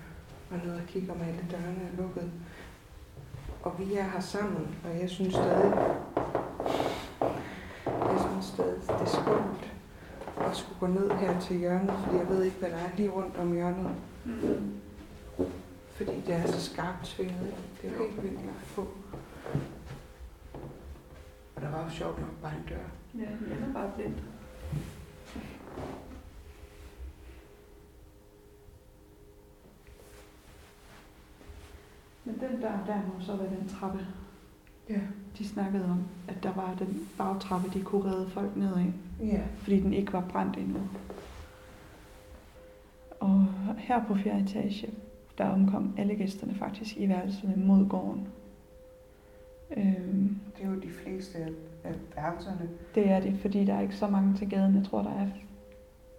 S3: og ned og kigge, om alle dørene er lukket. Og vi er her sammen, og jeg synes stadig, jeg synes stadig, det er skumt at skulle gå ned her til hjørnet, fordi jeg ved ikke, hvad der er lige rundt om hjørnet.
S9: Mm.
S3: Fordi det er så skarpt svinget. ikke? Det er jo helt vildt langt på. Og der var jo sjovt nok bare en dør.
S9: ja, jeg er bare blind.
S4: Men den der, der må så være den trappe.
S3: Ja.
S4: De snakkede om, at der var den bagtrappe, de kunne redde folk ned af,
S3: Ja.
S4: fordi den ikke var brændt endnu. Og her på fjerde etage, der omkom alle gæsterne faktisk i værelserne mod gården. Øhm,
S3: Det er jo de fleste af- af værelserne.
S4: Det er det, fordi der er ikke så mange til gaden. Jeg tror, der er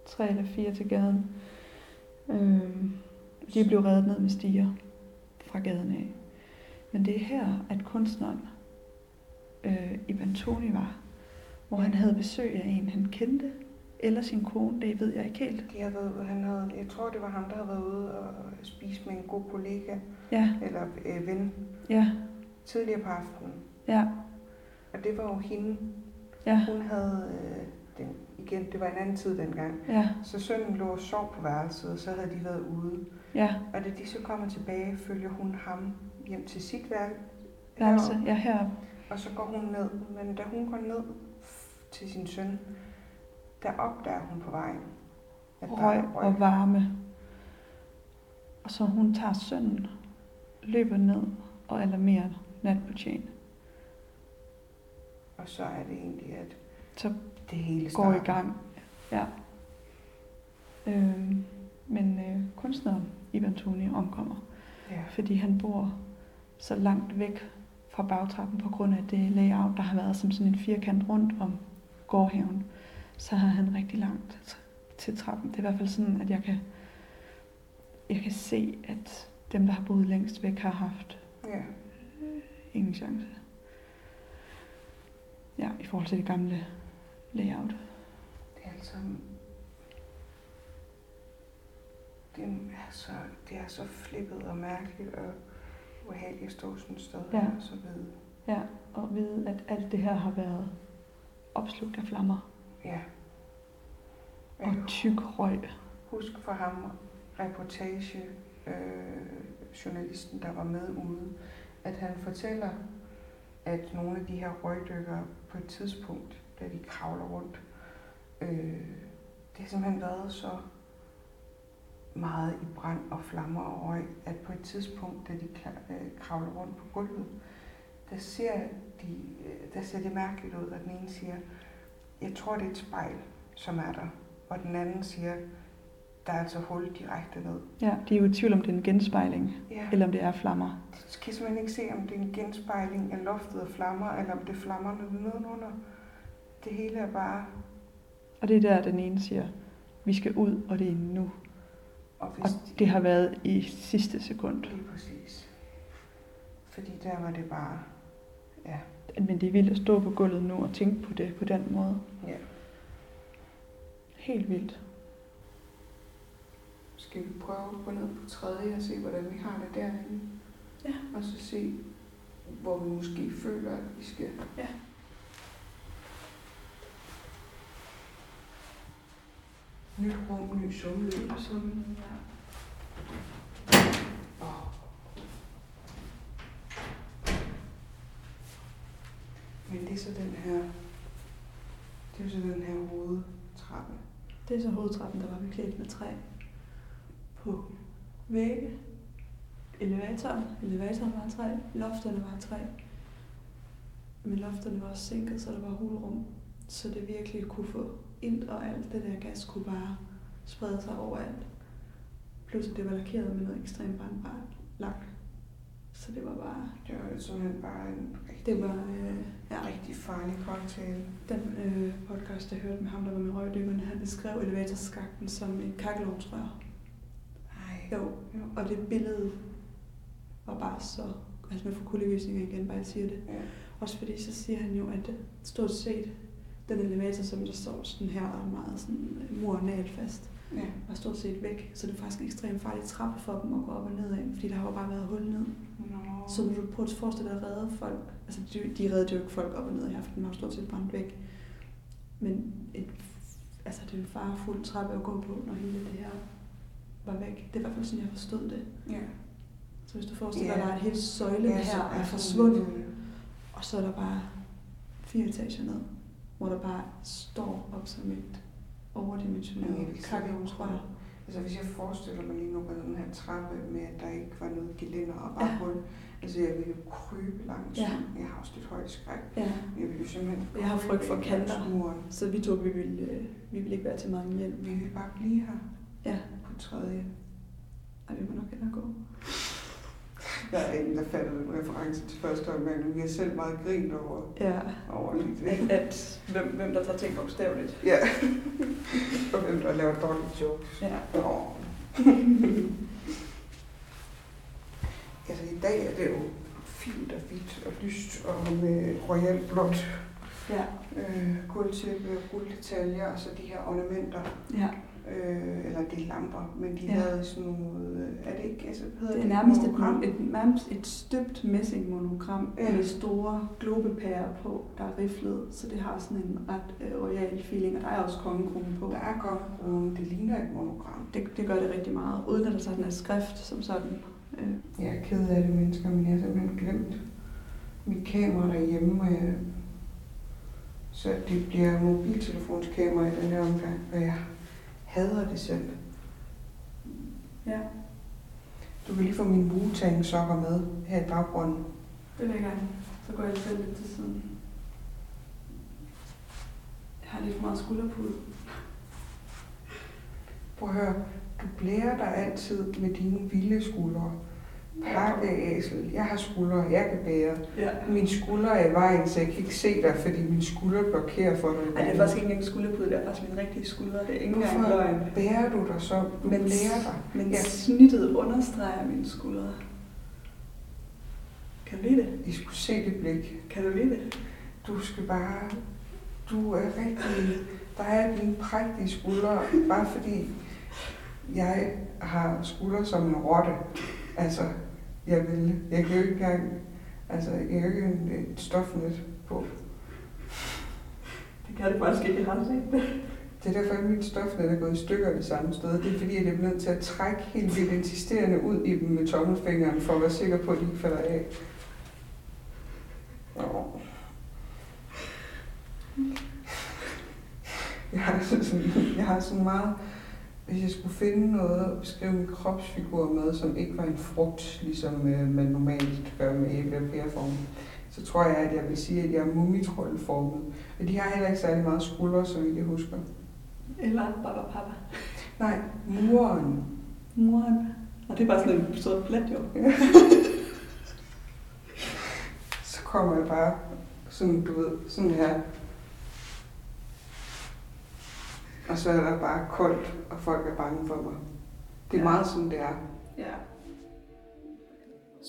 S4: tre eller fire til gaden. Øhm, de blev reddet ned med stiger fra gaden af. Men det er her, at kunstneren øh, Ivan Toni var, hvor han havde besøg af en, han kendte, eller sin kone, det ved jeg ikke helt.
S3: De havde været, han havde, jeg tror, det var ham, der havde været ude og spise med en god kollega
S4: Ja,
S3: eller øh, ven
S4: ja,
S3: tidligere på aftenen.
S4: ja,
S3: Og det var jo hende.
S4: ja,
S3: Hun havde øh, den, igen, det var en anden tid dengang.
S4: Ja,
S3: Så sønnen lå og sov på værelset, og så havde de været ude.
S4: ja,
S3: Og da de så kommer tilbage, følger hun ham hjem til sit værk,
S4: værelse, ja, heroppe.
S3: og så går hun ned. Men da hun går ned f- til sin søn, der opdager hun på vejen, at der
S4: Røg
S3: er
S4: og varme. Og så hun tager sønnen, løber ned og alarmerer natbetjent.
S3: Og så er det egentlig, at
S4: Så
S3: det hele
S4: går i
S3: starter.
S4: gang. Ja. Øhm, men øh, kunstneren Ivan Toni omkommer,
S3: Ja.
S4: fordi han bor så langt væk fra bagtrappen på grund af det layout, der har været som sådan en firkant rundt om gårdhaven. Så har han rigtig langt t- til trappen. Det er i hvert fald sådan, at jeg kan, jeg kan se, at dem, der har boet længst væk, har haft
S3: Ja.
S4: ingen chance. Ja, i forhold til det gamle layout.
S3: Det er altså... Det er så, det er så flippet og mærkeligt og ubehageligt at stå sådan et sted
S4: Ja.
S3: her og så vide.
S4: og vide, at alt det her har været opslugt af flammer
S3: Ja. Jeg
S4: og
S3: kan
S4: tyk røg.
S3: huske for ham reportage, øh, journalisten, der var med ude, at han fortæller, at nogle af de her røgdykkere på et tidspunkt, da de kravler rundt, øh, det har simpelthen været så meget i brand og flammer og røg, at på et tidspunkt, da de kla- øh, kravler rundt på gulvet, der ser, de, øh, der ser det mærkeligt ud, at den ene siger, jeg tror, det er et spejl, som er der. Og den anden siger, der er altså hul direkte ned.
S4: Ja, de er jo i tvivl, om det er en genspejling,
S3: Ja.
S4: eller om det er flammer.
S3: De kan simpelthen ikke se, om det er en genspejling af loftet og flammer, eller om det flammer ned- nedenunder. Det hele er bare...
S4: Og det er der, den ene siger, vi skal ud, og det er nu.
S3: Og hvis
S4: Og det har været i sidste sekund.
S3: Lige præcis. Fordi der var det bare...
S4: Men det er vildt at stå på gulvet nu og tænke på det på den måde.
S3: Ja.
S4: Helt vildt.
S3: Skal vi prøve at gå ned på tredje og se, hvordan vi har det derinde?
S4: Ja.
S3: Og så se, hvor vi måske føler, at vi skal...
S4: Ja.
S3: Nyt rum, ny summeløb og sådan. Åh. Men det er så den her... Det er jo så den her hovedtrappe.
S4: Det er så hovedtrappen, der var beklædt med træ på vægge. Elevatoren. Elevatoren var af træ. Lofterne var af træ. Men lofterne var også sænket, så der var hulrum. Så det virkelig kunne få ind, og alt det der gas kunne bare sprede sig overalt. Plus at det var lakeret med noget ekstremt brandbart lak. Så det var bare...
S3: Det var jo simpelthen bare en rigtig,
S4: Det var... Øh, ja.
S3: rigtig farlig cocktail.
S4: Den øh, podcast, jeg hørte med ham, der var med røgdykkerne, han beskrev elevatorskakten som et kakkelovnsrør.
S3: Ej.
S4: Jo,
S3: Jo.
S4: og det billede var bare så... Altså nu får kuldegysninger igen, bare jeg siger det.
S3: Ja.
S4: Også fordi så siger han jo, at stort set den elevator, som der står sådan her, og er meget sådan murnalt fast,
S3: Ja.
S4: var stort set væk. Så det er faktisk en ekstremt farlig trappe for dem at gå op og ned af, fordi der har jo bare været hul ned.
S3: Nå.
S4: Så når du prøver at forestille dig at redde folk, altså de, de redde jo ikke folk op og ned i aften, man har jo stort set brændt væk. Men et, altså det er en farefuld trappe at gå på, når hele det her var væk. Det er i hvert fald sådan, jeg forstod det.
S3: Ja.
S4: Så hvis du forestiller
S3: Ja.
S4: dig, at hele søjlen ja,
S3: så
S4: her er
S3: sådan
S4: forsvundet,
S3: lidt, øh,
S4: og så er der bare fire etager ned, hvor der bare står op som et
S3: Ja,
S4: overdimensioneret
S3: det er
S4: kakkelovnsrør.
S3: Altså hvis jeg forestiller mig lige nu med den her trappe med, at der ikke var noget gelænder og bare
S4: Ja.
S3: hul. Altså jeg ville jo krybe langs.
S4: Ja.
S3: Jeg har også lidt højt skræk.
S4: Ja,
S3: Jeg ville jo simpelthen
S4: Jeg har
S3: krybe
S4: frygt for
S3: ind
S4: kanter.
S3: langs muren.
S4: så vi to, vi ville, øh, vi ville ikke være til meget hjælp.
S3: Vi vil bare blive her
S4: Ja,
S3: på tredje.
S4: og vi må nok hellere gå.
S3: Der er ingen, der fatter den reference til første omgang, men vi har selv meget grint over,
S4: Ja.
S3: over lige
S4: at,
S3: det.
S4: at hvem, hvem der tager ting bogstaveligt.
S3: Ja. og hvem der laver dårlige jokes.
S4: Ja.
S3: Åh. altså i dag er det jo fint og hvidt og lyst og med royal blåt
S4: Ja.
S3: øh, guldtæppe og gulddetaljer og så de her ornamenter.
S4: ja.
S3: Øh, eller det er lamper, men de
S4: Ja.
S3: ja. havde sådan nogle, øh, er det ikke, altså hvad hedder
S4: Det er nærmest et,
S3: monogram?
S4: et, nærmest et støbt messingmonogram
S3: Ja.
S4: ja. med store globepærer på, der er riflet, så det har sådan en ret øh, royal feeling, og der er også kongekrone på.
S3: Der er kongekrone, det ligner et monogram.
S4: Det, det gør det rigtig meget, uden at der sådan er skrift som sådan. Øh,
S3: Jeg er ked af det, mennesker, men jeg har simpelthen glemt mit kamera derhjemme, og jeg... så det bliver mobiltelefonskamera i den her omgang, og jeg hader det selv.
S4: ja,
S3: Du kan lige få mine Wu-Tang sokker med her i baggrunden.
S4: det vil jeg gerne. Så går jeg selv lidt til siden. Jeg har lidt for meget skulderpude.
S3: Prøv at høre, du blærer dig altid med dine vilde skuldre. Pakkeæsel, jeg har skuldre, jeg kan bære.
S4: Ja.
S3: Min skulder er i vejen, så jeg kan ikke se dig, fordi min skulder blokerer for dig.
S4: Ej, det er faktisk ikke engang skulderpude, det er faktisk min rigtige skulder. Det er ikke engang løgn.
S3: Hvorfor bærer du dig så? Du
S4: Men-
S3: blærer dig.
S4: Men
S3: Ja.
S4: ja. snittet understreger mine skuldre. Kan du lide det?
S3: I skulle se det blik.
S4: Kan du lide det?
S3: Du skal bare... Du er rigtig... Der er dine prægtige skuldre, bare fordi jeg har skuldre som en rotte. Altså, jeg vil... Jeg kan jo ikke engang... Altså, jeg kan jo ikke en, et stofnet på.
S4: Det kan du faktisk ikke, jeg har set det.
S3: Det er derfor, at mit stofnet er gået i stykker det samme sted. Det er fordi, at jeg bliver nødt til at trække helt vildt insisterende ud i dem med tommelfingeren, for at være sikker på, at de ikke falder af. Åh. Jeg har, altså sådan, jeg har sådan meget... Hvis jeg skulle finde noget at beskrive min kropsfigur med, som ikke var en frugt, ligesom øh, man normalt gør med æble- og pæreformen, så tror jeg, at jeg vil sige, at jeg er mumitrollformet. Men de har heller ikke særlig meget skuldre, så vidt jeg husker.
S4: Eller Baba Papa.
S3: Nej, muren.
S4: Moren. Og det er bare sådan en sort plet, jo.
S3: Så kommer jeg bare sådan, du ved, sådan her. Og så er der bare koldt, og folk er bange for mig. Det er
S4: Ja.
S3: meget sådan, det er.
S4: Ja.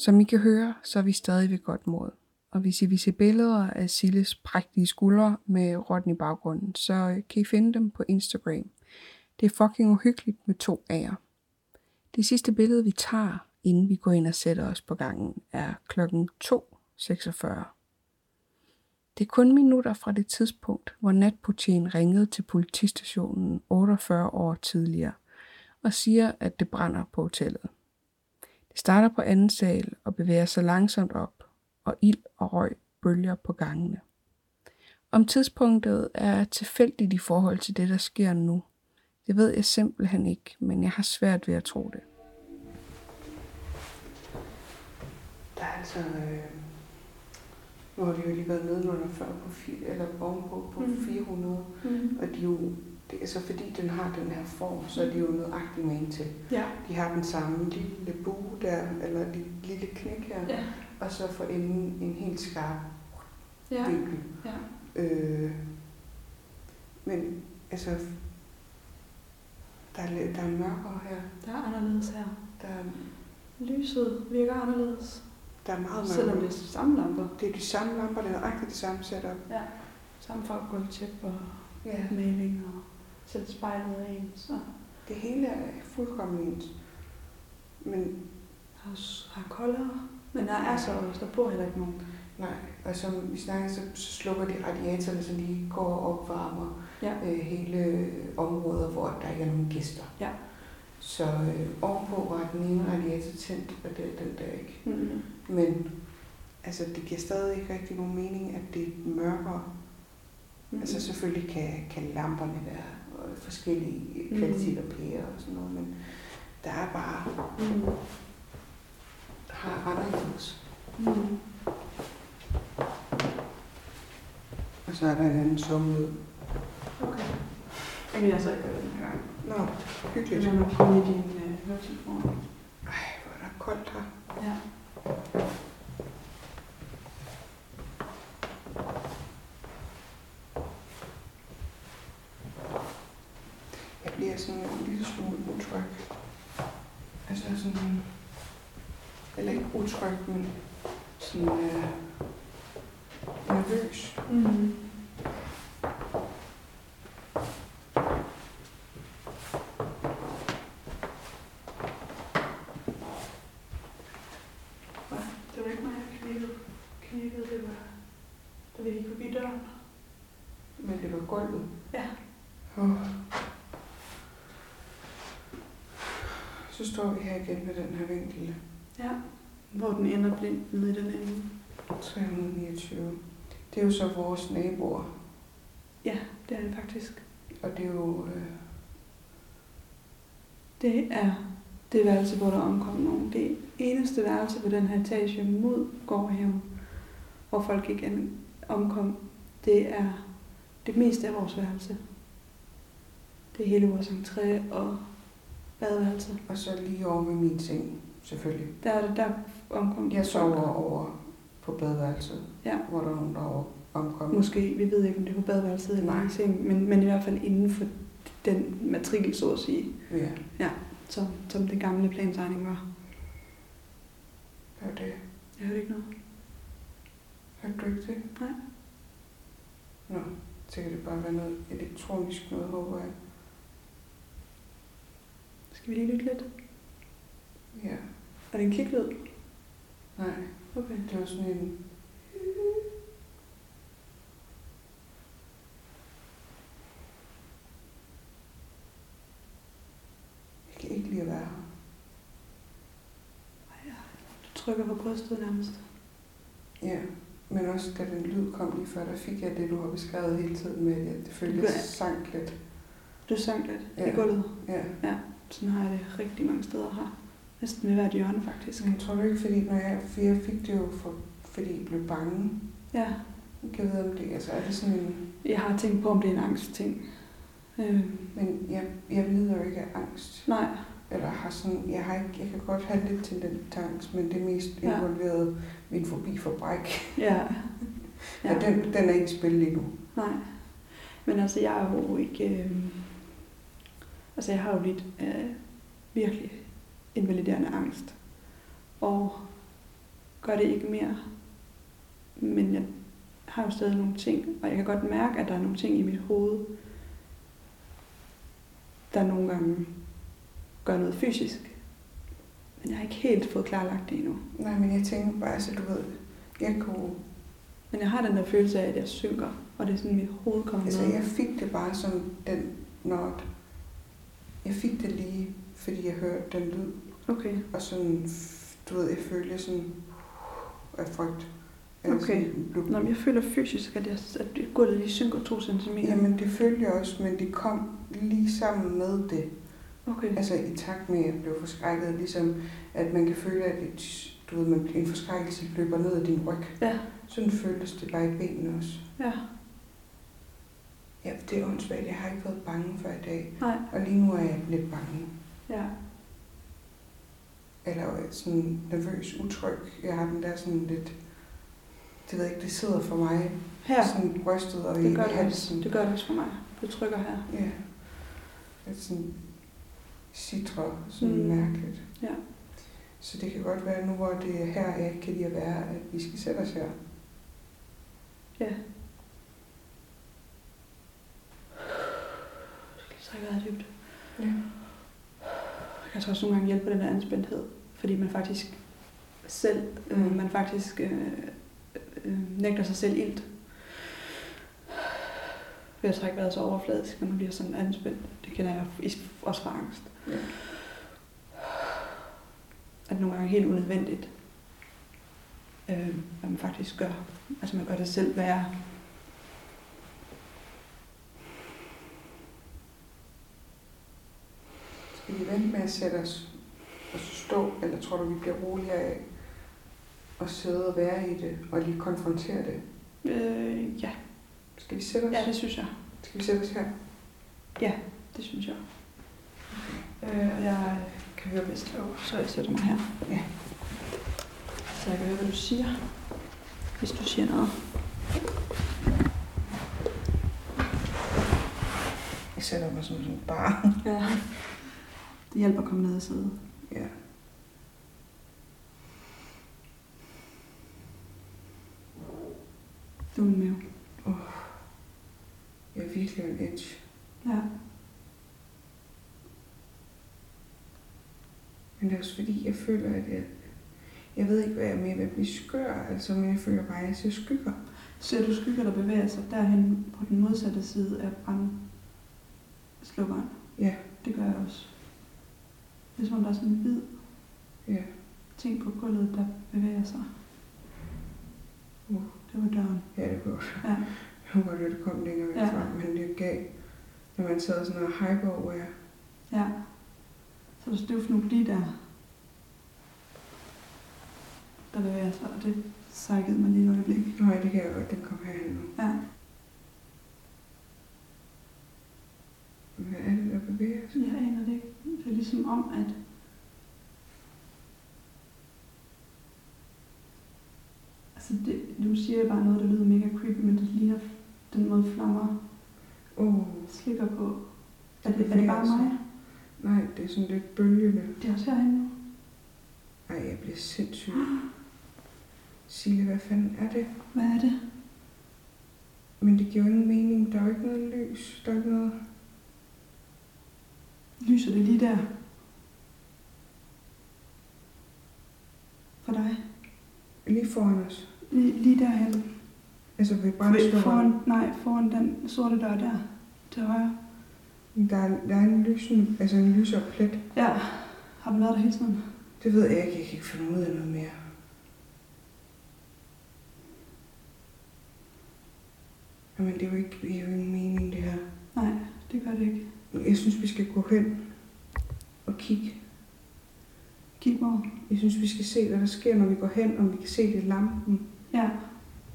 S11: Som I kan høre, så er vi stadig ved godt mod. Og hvis I vil se billeder af Silles prægtige skuldre med rotten i baggrunden, så kan I finde dem på Instagram. Det er fucking uhyggeligt med to A'er. Det sidste billede, vi tager, inden vi går ind og sætter os på gangen, er klokken 2.46. Det er kun minutter fra det tidspunkt, hvor natportieren ringede til politistationen 48 år tidligere og siger, at det brænder på hotellet. Det starter på anden sal og bevæger sig langsomt op, og ild og røg bølger på gangene. Om tidspunktet er tilfældigt i forhold til det, der sker nu. Det ved jeg simpelthen ikke, men jeg har svært ved at tro det.
S3: Der er altså... Øh, nu har de jo lige været nedenunder før på, fi, eller ovenpå på
S4: Mm.
S3: 400.
S4: Mm.
S3: Og de er jo, det, altså fordi den har den her form, så er de jo nøjagtigt med en til.
S4: Ja.
S3: De har den samme lille bue der, eller lille, lille knæk her,
S4: Ja.
S3: og så for enden en helt skarp
S4: Ja.
S3: vinkel.
S4: Ja.
S3: Øh, men altså, der er, lidt- der er mørkere her.
S4: Der er anderledes her.
S3: Der er,
S4: Lyset virker anderledes.
S3: der er meget
S4: Selvom det
S3: mørkere.
S4: er samme lamper.
S3: Det er de samme lamper, der er nøjagtigt det samme setup.
S4: Ja. Samme folk går tæt og
S3: Ja.
S4: maling og selv spejlet er ens. Og
S3: Det hele er fuldkommen ens. Men
S4: har, har koldere. Men der er så også, der bor heller ikke nogen.
S3: nej, og som vi snakker, så, så slukker de radiatorerne, så de går og opvarmer
S4: Ja.
S3: øh, hele områder, hvor der ikke er nogen gæster.
S4: Ja.
S3: Så øh, ovenpå var den ene radiator tændt, og det er den der ikke.
S4: Mm.
S3: Men altså, det giver stadig ikke rigtig nogen mening, at det er mørkere. Mm.
S4: Mm.
S3: Altså selvfølgelig kan, kan lamperne være øh, forskellige
S4: Mm.
S3: kvaliteter pære og sådan noget, men der er bare
S4: Mm.
S3: har anderledes.
S4: Mm.
S3: Og så er der en anden sommerlyd.
S4: Okay. Jamen, jeg har så ikke hørt den her gang.
S3: Nå,
S4: Det
S3: hyggeligt.
S4: er nok kun i din øh, høretelefon.
S3: Ej, hvor er der koldt her.
S4: Ja.
S3: Jeg bliver sådan en lille smule utryg. Altså sådan... Eller ikke utryg, men sådan øh, nervøs.
S4: Mm. Vi gik forbi døren.
S3: Men det var gulvet.
S4: Ja.
S3: Åh. Så står vi her igen med den her vinkel.
S4: Ja. Hvor den ender blindt nede i den ende.
S3: 329. Det er jo så vores naboer,
S4: Ja, det er det faktisk.
S3: og det er jo... Øh,
S4: Det er det værelse, hvor der omkom nogen. Det eneste værelse på den her etage mod gårdhaven, hvor folk ikke an- omkom, det er det meste af vores værelse. Det er hele vores entré og badeværelse.
S3: og så lige over ved min seng, selvfølgelig.
S4: Der er det, der omkom
S3: Jeg
S4: folk.
S3: sover over på badeværelset,
S4: Ja.
S3: hvor der er nogen, der er omkommet.
S4: Måske, vi ved ikke, om det er på badeværelset eller
S3: Nej.
S4: i sengen, men, men i hvert fald inden for den matrikel, så at sige,
S3: Ja,
S4: som, som den gamle plantegning var.
S3: det er det.
S4: Jeg hørte ikke noget.
S3: Hørte du ikke det?
S4: Nej.
S3: Nå, så kan det bare være noget elektronisk noget, håber jeg.
S4: Skal vi lige lytte lidt?
S3: Ja,
S4: Er det en kliklyd?
S3: nej,
S4: Okay.
S3: det var sådan en... Jeg kan ikke lide at være her.
S4: Du trykker på brystet nærmest.
S3: Ja, men også da den lyd kom lige før, der fik jeg det, du har beskrevet hele tiden med, at det føltes
S4: Ja.
S3: sank lidt.
S4: Du sank lidt ja. i
S3: Ja.
S4: gulvet.
S3: Ja.
S4: Sådan har jeg det rigtig mange steder her. Næsten ved hvert hjørne, faktisk.
S3: Men tror du ikke, fordi når jeg, for jeg fik det jo, for, fordi jeg blev bange.
S4: Ja,
S3: Jeg ved, om det, altså er det sådan en...
S4: jeg har tænkt på, om det er en angstting. Øh,
S3: Men jeg, jeg lider jo ikke af angst.
S4: nej,
S3: Eller har sådan, jeg, har ikke, jeg kan godt have lidt tendens til angst, men det er mest
S4: Ja.
S3: involveret min fobi for bræk.
S4: ja.
S3: Ja. Og den, den er ikke i spil lige nu.
S4: Nej. Men altså, jeg er jo ikke... Øh... Altså, jeg har jo lidt øh, virkelig invaliderende angst. Og gør det ikke mere. Men jeg har jo stadig nogle ting, og jeg kan godt mærke, at der er nogle ting i mit hoved, der nogle gange gør noget fysisk. Men jeg har ikke helt fået klarlagt det endnu.
S3: Nej, men jeg tænker bare, altså du ved, jeg kunne
S4: Men jeg har den der følelse af, at jeg synker, og det er sådan, mit hoved kommer
S3: Altså,
S4: med.
S3: jeg fik det bare som den not. Jeg fik det lige, fordi jeg hørte den lyd,
S4: Okay.
S3: og sådan, du ved, jeg følte sådan af frygt. Eller
S4: Okay.
S3: sådan blev-
S4: Nå, men jeg føler fysisk, at, jeg, at gulvet lige synker to centimeter.
S3: Jamen, det følte jeg også, men det kom lige sammen med det.
S4: Okay.
S3: Altså, i takt med, at jeg blev forskrækket, ligesom, at man kan føle, at et, du ved, man- en forskrækkelse løber ned ad din ryg.
S4: Ja.
S3: Sådan føltes det bare i benene også.
S4: Ja.
S3: Ja, det er åndssvagt. Jeg har ikke været bange for i dag.
S4: Nej.
S3: Og lige nu er jeg lidt bange.
S4: Ja.
S3: eller øh, sådan nervøs, utryg. Jeg har den der sådan lidt, det ved jeg ikke, det sidder for mig,
S4: Her.
S3: sådan brystet og
S4: Det
S3: i
S4: gør det også.
S3: halsen.
S4: Det gør det også for mig. Du trykker her.
S3: Ja, lidt sådan citrer, sådan
S4: Mm.
S3: mm. mærkeligt.
S4: Ja.
S3: Så det kan godt være nu, hvor det er her, jeg ikke kan lide at være, at vi skal sætte os her.
S4: Du skal lige trække vejret dybt.
S3: Ja.
S4: Det kan altså også nogle gange hjælpe på den der anspændthed, fordi man faktisk selv, øh,
S3: Mm.
S4: man faktisk øh, øh, nægter sig selv ilt. Ved at trække vejret så overfladisk, når man bliver sådan anspændt. Det kender jeg is- også fra angst.
S3: Ja.
S4: At nogle gange er helt unødvendigt, øh, hvad man faktisk gør. Altså man gør det selv værre.
S3: Skal vi vente med at sætte os og så stå, eller tror du, vi bliver roligere af at sidde og være i det, og lige konfrontere det?
S4: Øh, ja.
S3: Skal vi sætte os?
S4: ja, det synes jeg.
S3: Skal vi sætte os her?
S4: Det synes jeg. Øh, og jeg kan høre bedst over, så jeg sætter mig her.
S3: Ja.
S4: Så jeg kan høre, hvad du siger, hvis du siger noget.
S3: Jeg sætter mig sådan, sådan bare
S4: Ja. Det hjælper at komme ned og sidde.
S3: Ja.
S4: Det er min mave.
S3: Jeg er virkelig en edge.
S4: Ja.
S3: Men det er også fordi, jeg føler, at jeg... Jeg ved ikke, hvad jeg er med at blive skør, altså, men jeg føler bare, at jeg ser skygger.
S4: Ser du skygger, der bevæger sig derhen på den modsatte side af brandslukkeren?
S3: Ja.
S4: Det gør jeg også. Det er som om, der er sådan en hvid
S3: Ja.
S4: ting på gulvet, der bevæger sig.
S3: Uh.
S4: Det var døren.
S3: Ja, det kunne
S4: Ja.
S3: Nu var det, det kom længere væk
S4: Ja.
S3: ja. fra, men det gav, når man sad sådan noget hyperware.
S4: Ja. Så er der støvfnug lige der. Der bevæger sig, og det sækkede mig lige et øjeblik.
S3: Nej, det kan jeg godt, den kom herhen nu.
S4: Ja.
S3: Hvad er det, der bevæger sig?
S4: Jeg aner det ikke. Det er ligesom om, at... Altså, det, nu siger jeg bare noget, der lyder mega creepy, men det ligner den måde flammer
S3: Åh,
S4: slikker på. Er det, er det bare mig?
S3: nej, det er sådan lidt bølgende.
S4: Det er også herinde nu.
S3: Ej, jeg bliver sindssyg. Sille, hvad fanden er det?
S4: Hvad er det?
S3: Men det giver jo ingen mening. Der er jo ikke noget lys. Der er ikke noget...
S4: Lyser det lige der? For dig?
S3: Lige foran os.
S4: Lige, lige derhen.
S3: Altså ved
S4: Ved-
S3: brændstofferen.
S4: Foran, nej, foran den sorte dør der. Til højre.
S3: Der, er- der er en lysende, altså en lysere plet.
S4: Ja. Har den været der hele tiden?
S3: Det ved jeg ikke. Jeg kan ikke finde ud af noget mere. Jamen, det er jo ikke, det er jo ingen mening, det her.
S4: Nej, det gør det ikke.
S3: Jeg synes, vi skal gå hen og kigge.
S4: Kig hvor.
S3: Jeg synes, vi skal se, hvad der sker, når vi går hen, om vi kan se det i lampen.
S4: Ja,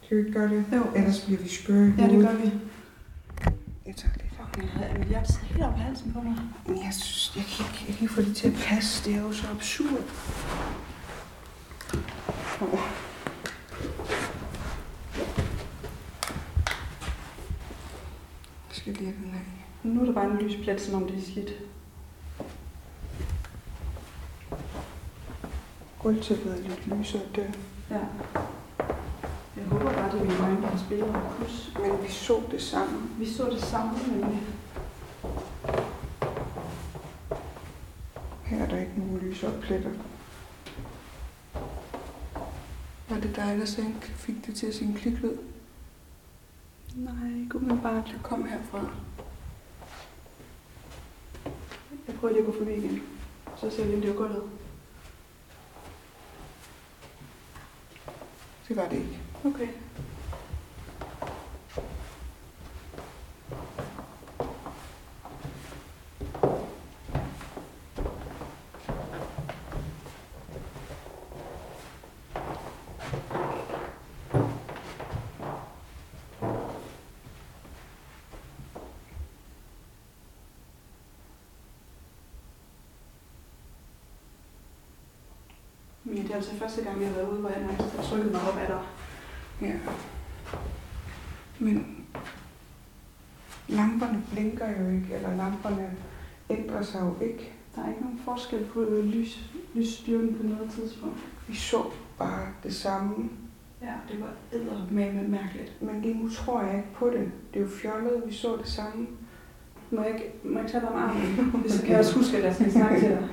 S3: Kan vi ikke gøre det?
S4: jo.
S3: Ellers bliver vi skøre i
S4: Ja, det
S3: hovedet.
S4: gør vi.
S3: Jeg tager lidt op.
S4: Jeg er helt op halsen på mig.
S3: Men jeg synes, jeg kan ikke, jeg kan ikke få det til at passe. Det er jo så absurd. Åh. Jeg skal lige have den her.
S4: Nu er der bare en lys plet, som om det er slidt.
S3: Gulvtæppet er lidt lysere der.
S4: Ja. Jeg håber bare, det er min egen, der spiller og kus.
S3: Men vi så det sammen.
S4: Vi så det samme, men
S3: Her er der ikke nogen lysere pletter. Var det dig, der sagde, fik det til at sige en kliklyd?
S4: nej, ikke umiddelbart.
S3: Det kom herfra.
S4: Jeg prøver lige at gå forbi igen. Så ser vi, om det er gulvet.
S3: Det var det ikke.
S4: Okay. Men det er altså første gang, jeg har været ude, hvor jeg nærmest har trykket mig op af dig.
S3: Ja. Men lamperne blinker jo ikke, eller lamperne ændrer sig jo ikke.
S4: Der er ikke nogen forskel på øh, lys, lysstyrken på noget tidspunkt.
S3: Vi så bare det samme.
S4: Ja, det var eddermame mærkeligt.
S3: Men lige nu tror jeg ikke på det. Det er jo fjollet, vi så det samme.
S4: Må jeg ikke, må jeg ikke tage dig om armen? Hvis så kan jeg også huske, at jeg skal snakke til dig.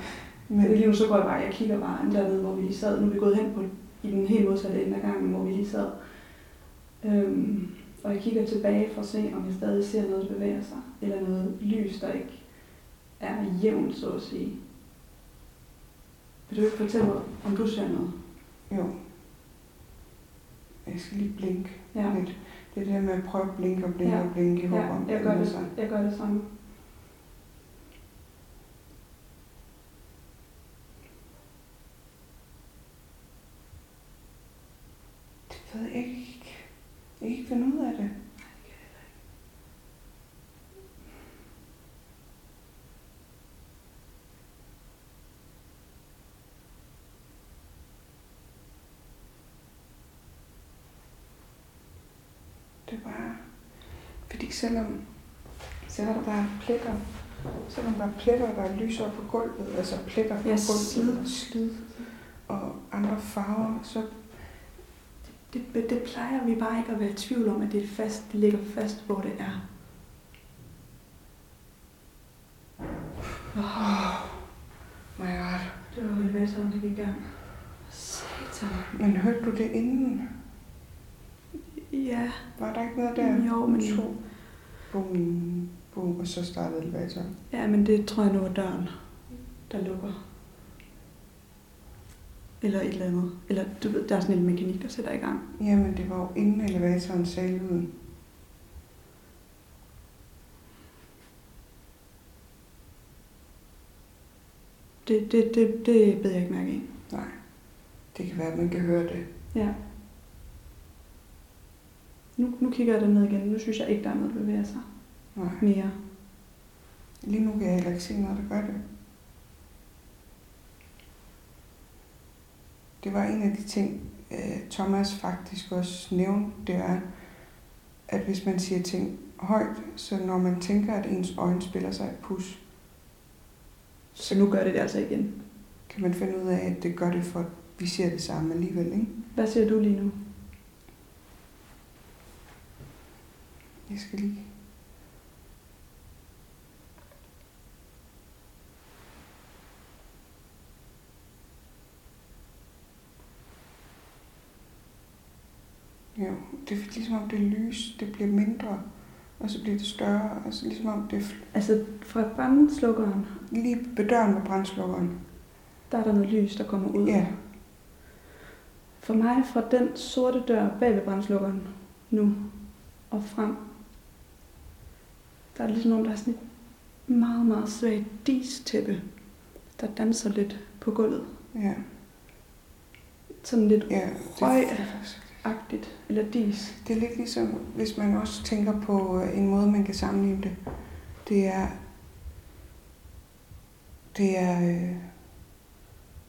S4: Men lige nu så går jeg bare, jeg kigger bare an dernede, hvor vi lige sad. Nu er vi gået hen på i den helt modsatte ende af gangen, hvor vi lige sad. Øhm, og jeg kigger tilbage for at se, om jeg stadig ser noget, der bevæger sig. Eller noget lys, der ikke er jævnt, så at sige. Vil du ikke fortælle mig, om du ser noget?
S3: Jo. Jeg skal lige blinke
S4: Ja.
S3: lidt. Det er det der med at prøve at blinke og blinke
S4: Ja.
S3: og blinke i håb
S4: Ja,
S3: om,
S4: jeg
S3: at
S4: gør
S3: ændrer
S4: det,
S3: sig.
S4: jeg gør det samme.
S3: Det ved jeg ikke. Jeg kan ikke finde ud af det. Det er bare... Fordi selvom, selvom der er pletter, selvom der er pletter, der er lysere på gulvet, altså pletter på
S4: Ja, slid.
S3: gulvet og slid og andre farver, så
S4: Det, men det plejer vi bare ikke at være i tvivl om, at det, er fast, det ligger fast, hvor det er.
S3: my god.
S4: Det var elevatoren, der gik i gang. Satan.
S3: Men hørte du det inden?
S4: Ja,
S3: Var der ikke noget der?
S4: jo, men,
S3: To. Bum, bum, og så startede elevatoren.
S4: ja, men det tror jeg nu er døren, der lukker. Eller et eller andet. Eller du ved, der er sådan en mekanik, der sætter i gang.
S3: Jamen, det var jo inden elevatoren sagde lyden.
S4: Det, det, det, det beder jeg ikke mærke i.
S3: Nej. Det kan være, at man kan høre det.
S4: Ja. Nu, nu kigger jeg derned igen. Nu synes jeg ikke, der er noget, der bevæger sig
S3: Nej.
S4: mere.
S3: Lige nu kan jeg heller ikke se noget, der gør det. Det var en af de ting, øh, Thomas faktisk også nævnte, det er, at hvis man siger ting højt, så når man tænker, at ens øjne spiller sig et pus,
S4: Så nu gør det det altså igen.
S3: kan man finde ud af, at det gør det for, at vi siger det samme alligevel, ikke?
S4: Hvad ser du lige nu?
S3: Jeg skal lige... Jo, det er ligesom om det lys, det bliver mindre, og så bliver det større, og så ligesom om det er fl-
S4: Altså, fra brandslukkeren,
S3: lige ved døren med brændslukkeren.
S4: der er der noget lys, der kommer ud.
S3: Ja,
S4: For mig, fra den sorte dør bag ved brændslukkeren, nu og frem, der er det ligesom om, der er sådan et meget, meget svagt distæppe, der danser lidt på gulvet.
S3: ja,
S4: Sådan lidt
S3: ja.
S4: Røg.
S3: Det,
S4: agtigt, eller dis.
S3: det er lidt ligesom, hvis man også tænker på øh, en måde, man kan sammenligne det. Det er... Det er... Øh,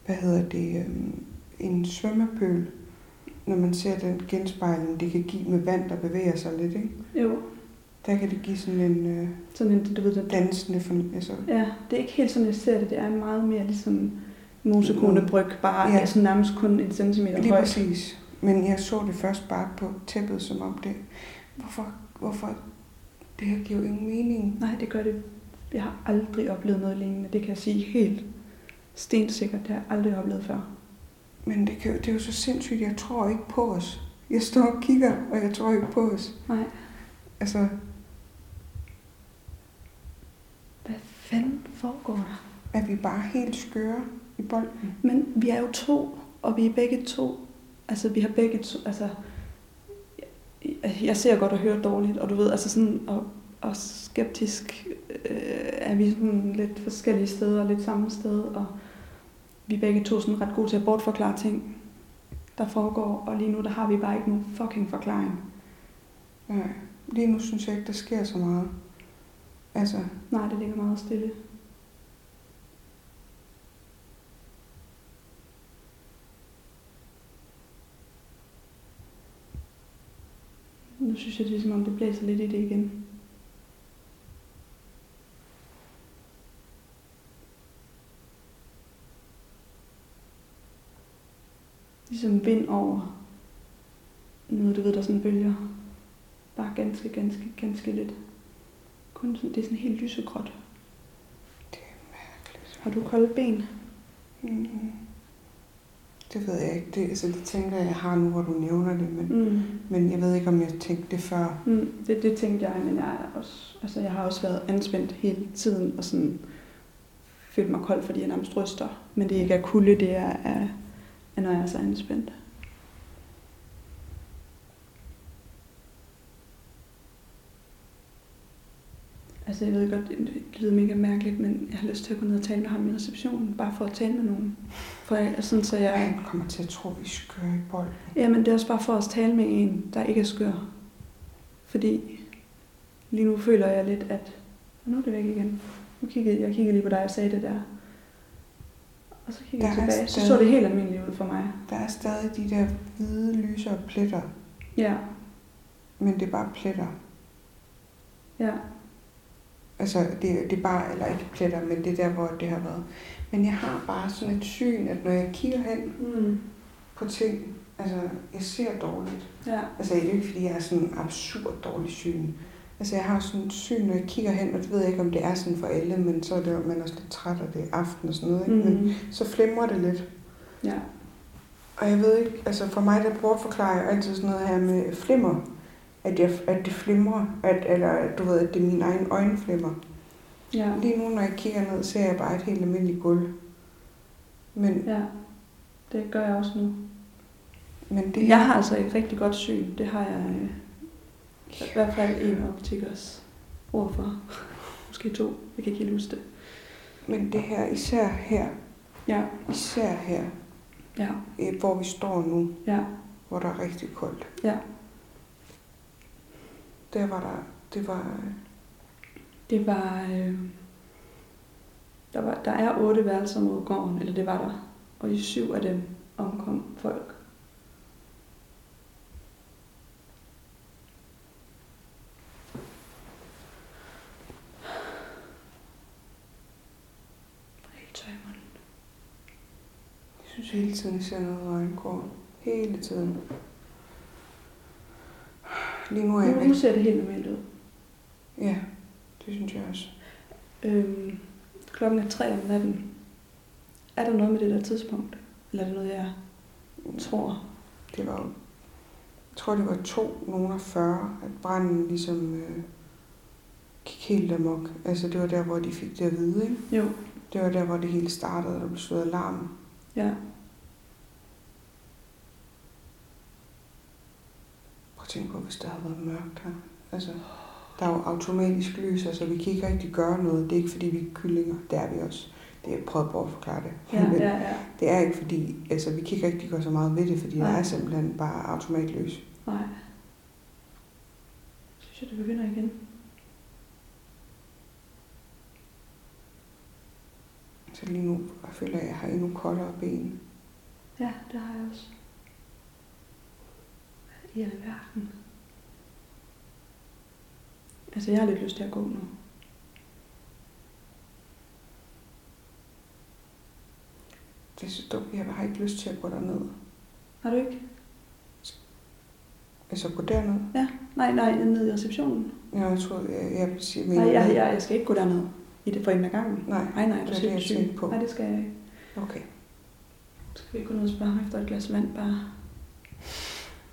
S3: hvad hedder det? Øh, en svømmepøl, når man ser den genspejling, det kan give med vand, der bevæger sig lidt. Ikke?
S4: Jo,
S3: Der kan det give sådan en øh,
S4: sådan en, du ved, der
S3: dansende fornemmelse. Altså,
S4: Ja, det er ikke helt sådan, jeg ser det. Det er meget mere ligesom mosekonebryg, bare
S3: Ja.
S4: ja. sådan nærmest kun en centimeter
S3: Lige
S4: høj.
S3: præcis. Men jeg så det først bare på tæppet, som om det... Hvorfor? Hvorfor? Det her giver jo ingen mening.
S4: Nej, det gør det. Jeg har aldrig oplevet noget lignende. Det kan jeg sige helt stensikkert. Det har jeg aldrig oplevet før.
S3: Men det, kan, jo- det er jo så sindssygt, jeg tror ikke på os. Jeg står og kigger, og jeg tror ikke på os.
S4: Nej.
S3: Altså,
S4: Hvad fanden foregår der?
S3: er vi bare helt skøre i bolden?
S4: Men vi er jo to, og vi er begge to. Altså, vi har begge to... Altså, jeg- jeg ser godt og hører dårligt, og du ved, altså sådan... Og, og skeptisk øh, er vi sådan lidt forskellige steder og lidt samme sted, og vi er begge to sådan ret gode til at bortforklare ting, der foregår, og lige nu der har vi bare ikke nogen fucking forklaring.
S3: Nej, lige nu synes jeg ikke, der sker så meget. Altså,
S4: Nej, det ligger meget stille. Nu synes jeg, det er som om, det blæser lidt i det igen. Ligesom vind over noget, du ved, der sådan bølger. Bare ganske, ganske, ganske lidt. Kun sådan, det er sådan helt lysegråt.
S3: det er mærkeligt.
S4: Har du kolde ben?
S3: Mm. Det ved jeg ikke. Det, altså, det tænker jeg, jeg har nu, hvor du nævner det. Men,
S4: Mm.
S3: men jeg ved ikke, om jeg tænkte det før.
S4: Mm. Det, det tænkte jeg, men jeg, er også, altså, jeg har også været anspændt hele tiden og sådan følt mig kold, fordi jeg nærmest ryster. Men det er ikke af kulde, det er af, af når jeg er så anspændt. Altså jeg ved godt, det det lyder mega mærkeligt, men jeg har lyst til at gå ned og tale med ham i receptionen, bare for at tale med nogen. For jeg, sådan, så jeg,
S3: Han kommer til at tro, vi er skøre i bolden.
S4: Jamen, det er også bare for at tale med en, der ikke er skør. Fordi lige nu føler jeg lidt, at... Og nu er det væk igen. Nu kiggede, jeg kiggede lige på dig og sagde det der. Og så kiggede jeg
S3: Der er
S4: tilbage. Så
S3: stadig-
S4: så det helt almindeligt ud for mig.
S3: Der er stadig de der hvide lyser og pletter,
S4: Ja,
S3: men det er bare pletter.
S4: ja.
S3: Altså, det, det er bare, eller ikke pletter, men det er der, hvor det har været. Men jeg har bare sådan et syn, at når jeg kigger hen
S4: Mm.
S3: på ting, altså, jeg ser dårligt.
S4: Ja,
S3: Altså, det er jo ikke, fordi jeg er sådan en absurd dårlig syn. Altså, jeg har sådan et syn, når jeg kigger hen, og det ved jeg ikke, om det er sådan for alle, men så er det, jo- man er også lidt træt, og det er aften og sådan noget, ikke? Men
S4: mm.
S3: så flimrer det lidt.
S4: ja.
S3: Og jeg ved ikke, altså for mig, der prøver at forklare altid sådan noget her med flimmer. at, jeg, at det flimrer, at, eller at du ved, at det er mine egne øjenflimmer.
S4: Ja.
S3: Lige nu, når jeg kigger ned, ser jeg bare et helt almindeligt gulv. Men,
S4: ja. Det gør jeg også nu.
S3: men det
S4: Jeg har altså et rigtig godt syn. Det har jeg øh, i hvert fald en optik også. Hvorfor? Måske to. Jeg kan ikke helt huske det.
S3: men det her, især her,
S4: Ja,
S3: især her,
S4: ja,
S3: øh, hvor vi står nu,
S4: ja,
S3: hvor der er rigtig koldt.
S4: ja.
S3: Der var der, det var,
S4: Det var... Øh, der, var der er otte værelser mod gården, eller det var der. Og i syv af dem omkom folk. Helt tør i munden.
S3: jeg synes hele tiden, jeg ser noget øjenkår. Hele tiden. Lige nu er jeg
S4: Nu, nu
S3: væk.
S4: ser det helt normalt ud.
S3: Ja, det synes jeg også.
S4: Øhm, klokken er tre om natten. Er der noget med det der tidspunkt? Eller er det noget, jeg
S3: Mm.
S4: tror?
S3: Det var jo- jeg tror, det var to nogen af 40, at branden ligesom øh, gik helt amok. Altså det var der, hvor de fik det at vide, ikke?
S4: Jo,
S3: Det var der, hvor det hele startede, og der blev slået alarm.
S4: ja.
S3: Prøv at tænke på, hvis der havde været mørkt her. Altså, der er jo automatisk lys, altså vi kan ikke rigtig gøre noget. Det er ikke, fordi vi er kyllinger. Det er vi også. Det er jeg prøvet på at forklare det.
S4: Ja,
S3: Men
S4: ja, ja.
S3: Det er ikke, fordi altså, vi kan ikke rigtig gøre så meget ved det, fordi der
S4: Nej.
S3: er simpelthen bare automatlys.
S4: Nej. Synes jeg, det begynder igen.
S3: Så lige nu jeg føler jeg, at jeg har endnu koldere ben.
S4: Ja, det har jeg også. Hvad i alverden? Altså, jeg har lidt lyst til at gå nu.
S3: Det er så dumt, jeg har ikke lyst til at gå derned.
S4: Har du ikke?
S3: Altså gå derned.
S4: Nej, nej, ned i receptionen.
S3: Jeg, jeg tror, jeg, jeg siger, men
S4: Nej, jeg, jeg, jeg skal ikke gå derned i det for enden af gangen.
S3: Nej,
S4: Nej, nej, du
S3: det er
S4: skal
S3: det, jeg
S4: ikke syg.
S3: tænkte på.
S4: Nej, det skal jeg ikke.
S3: Okay.
S4: Skal vi ikke gå ned og spørge ham efter et glas vand bare?